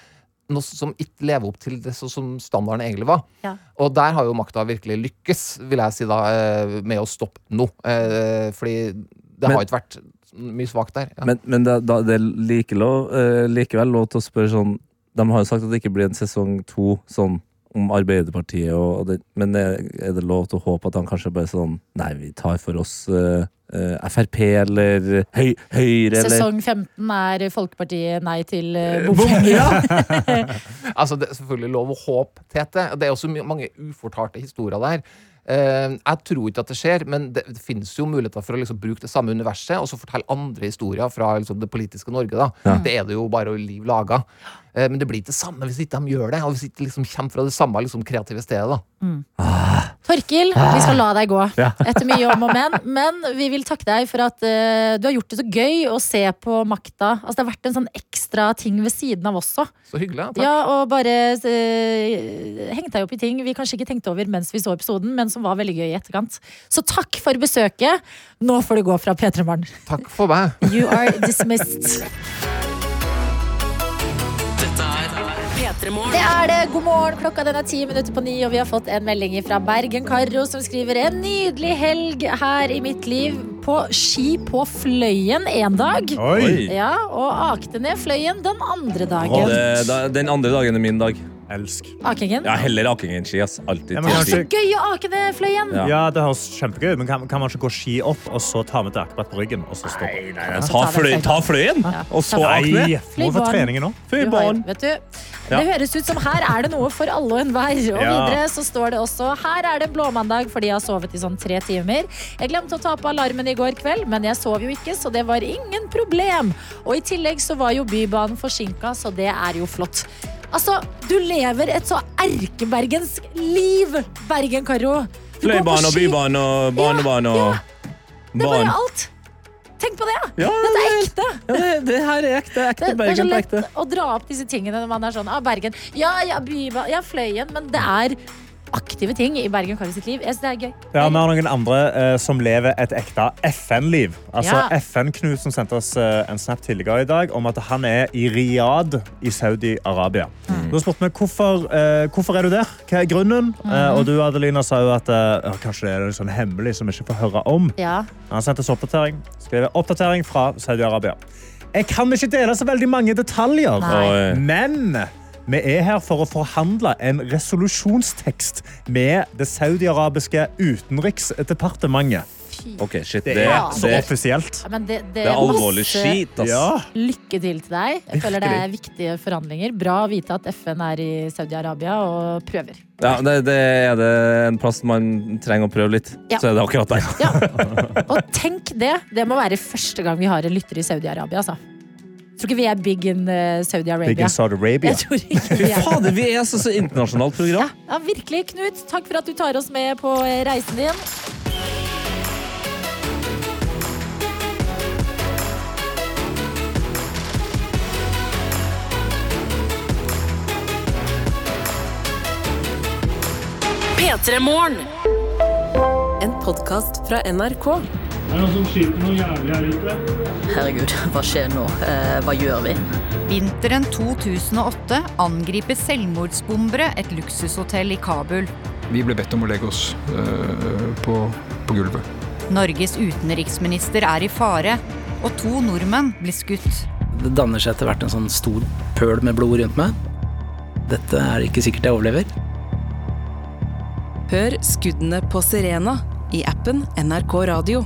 Speaker 4: noe som ikke lever opp til det sånn som standarden egentlig var.
Speaker 3: Ja.
Speaker 4: Og der har jo makta virkelig lykkes, vil jeg si da, eh, med å stoppe nå. Eh, fordi det
Speaker 1: Men-
Speaker 4: har ikke vært mye svakt der. Ja.
Speaker 1: Men, men det, da, det er like lov, eh, likevel lov til å spørre sånn De har jo sagt at det ikke blir en sesong to sånn om Arbeiderpartiet og og det, Men er, er det lov til å håpe at han kanskje bare sånn Nei, vi tar for oss eh, eh, Frp eller høy, Høyre eller
Speaker 3: Sesong 15 er Folkepartiet nei til eh,
Speaker 1: Bom,
Speaker 3: bompenger.
Speaker 1: ja.
Speaker 4: Altså, det er selvfølgelig lov å håpe, Tete. og Det er også my- mange ufortalte historier der. Eh, jeg tror ikke at det skjer, men det, det finnes jo muligheter for å liksom bruke det samme universet og så fortelle andre historier fra liksom, det politiske Norge. da. Det er det jo bare å liv laga. Eh, men det blir ikke det samme hvis ikke de gjør det, og hvis ikke det liksom kommer fra det samme liksom, kreative stedet. da.
Speaker 3: Torkil, vi skal la deg gå etter mye om og men. Men vi vil takke deg for at eh, du har gjort det så gøy å se på makta. Altså, det har vært en sånn ekstra ting ved siden av også.
Speaker 4: Så hyggelig. Takk.
Speaker 3: Ja, og bare eh, hengt deg opp i ting vi kanskje ikke tenkte over mens vi så episoden, men som var veldig gøy i etterkant. Så takk for besøket. Nå får du gå fra P3 Morgen.
Speaker 4: Takk for meg.
Speaker 3: You are dismissed.
Speaker 2: P3
Speaker 3: Det
Speaker 2: Morgen.
Speaker 3: er det. God morgen. Klokka den er ti minutter på ni, og vi har fått en melding fra Bergen-Karro som skriver en nydelig helg her i mitt liv på ski på Fløyen en dag.
Speaker 5: Oi!
Speaker 3: Ja, og akte ned Fløyen den andre
Speaker 1: Og
Speaker 3: dagen.
Speaker 1: det, da, Den andre dagen er min dag.
Speaker 5: Elsk.
Speaker 3: Akingen.
Speaker 1: Ja, heller aking enn ski. ass. Alltid
Speaker 5: Ja, men
Speaker 1: til ski.
Speaker 5: kanskje-
Speaker 3: Gøy å ake ned Fløyen.
Speaker 1: Ja.
Speaker 5: Ja, det høres kjempegøy ut, men kan, kan man ikke gå ski opp og så ta med et akebrat på ryggen? og så stoppe?
Speaker 1: Ta, fløy, ta fløyen, og så akne.
Speaker 5: Nei! Må få treningen nå.
Speaker 1: Fy
Speaker 3: Du har,
Speaker 1: barn.
Speaker 3: vet du, Det høres ut som her er det noe for alle og enhver. Og
Speaker 5: Ja.
Speaker 3: videre så står det også her er det en blåmandag fordi jeg har sovet i sånn tre timer. Jeg glemte å ta på alarmen i går kveld, men jeg sov jo ikke, så det var ingen problem. Og i tillegg så var jo Bybanen forsinka, så det er jo flott. Altså, du lever et så erkebergensk liv, Bergen-Karo. Du går på
Speaker 1: Fløybane og
Speaker 3: ski.
Speaker 1: bybane og barnebane og
Speaker 3: Det er bare
Speaker 1: barn.
Speaker 3: alt. Tenk på det! ja.
Speaker 4: Ja,
Speaker 3: Dette er ekte.
Speaker 4: Ja, det, det her er ekte.
Speaker 3: Det,
Speaker 4: Ekte
Speaker 3: det er så
Speaker 4: Bergen på
Speaker 3: lett
Speaker 4: ekte.
Speaker 3: å dra opp disse tingene når man er sånn ah, Bergen. Ja, ja, byba, ja, Fløyen. Men det er aktive ting i Bergen Kari sitt liv. Jeg synes det er gøy.
Speaker 5: Ja, Vi har noen andre eh, som lever et ekte FN-liv. Altså
Speaker 3: Ja.
Speaker 5: FN-Knut som sendte oss eh, en snap tidligere i dag om at han er i Riyadh i Saudi-Arabia.
Speaker 3: Mm.
Speaker 5: Da spurte vi hvorfor, eh, hvorfor er du der. Hva er grunnen? Eh, og du Adelina, sa jo at eh, «Ja, kanskje det er noe sånn hemmelig som vi ikke får høre om.
Speaker 3: Ja.
Speaker 5: Han sendte oss oppdatering. Skriver oppdatering fra Saudi-Arabia. Jeg kan ikke dele så veldig mange detaljer,
Speaker 3: Nei.
Speaker 4: Oi.
Speaker 5: men vi er her for å forhandle en resolusjonstekst med det saudiarabiske utenriksdepartementet.
Speaker 4: OK, shit. Det,
Speaker 5: Det er så
Speaker 4: det,
Speaker 5: offisielt.
Speaker 3: Ja, Men det, det,
Speaker 4: det er alvorlig
Speaker 3: masse
Speaker 4: skit, ass.
Speaker 5: Ja.
Speaker 3: Lykke til til deg. Jeg føler det er viktige forhandlinger. Bra å vite at FN er i Saudi-Arabia og prøver.
Speaker 4: Ja, det, det er det en plass man trenger å prøve litt.
Speaker 3: Ja.
Speaker 4: Så er det akkurat der.
Speaker 3: Ja. Og tenk det! Det må være første gang vi har en lytter i Saudi-Arabia. Altså. Tror ikke vi er big in eh,
Speaker 5: Big
Speaker 3: Saudi-Arabia.
Speaker 5: in Saudi-Arabia.
Speaker 3: Jeg tror ikke vi er
Speaker 4: Fader, vi er så, så internasjonalt
Speaker 3: ja,
Speaker 4: program.
Speaker 3: ja, virkelig, Knut. Takk for at du tar oss med på eh, reisen din.
Speaker 2: P3 Morgen. En podkast fra NRK. Herregud, hva skjer nå? Eh, hva gjør vi?
Speaker 12: Vinteren 2008 angriper selvmordsbombere et luksushotell i Kabul.
Speaker 13: Vi ble bedt om å legge oss eh, på, på gulvet.
Speaker 12: Norges utenriksminister er i fare, og to nordmenn blir skutt.
Speaker 2: Det danner seg etter hvert en sånn stor pøl med blod rundt meg. Dette er ikke sikkert jeg overlever. Hør skuddene på Sirena i appen NRK Radio.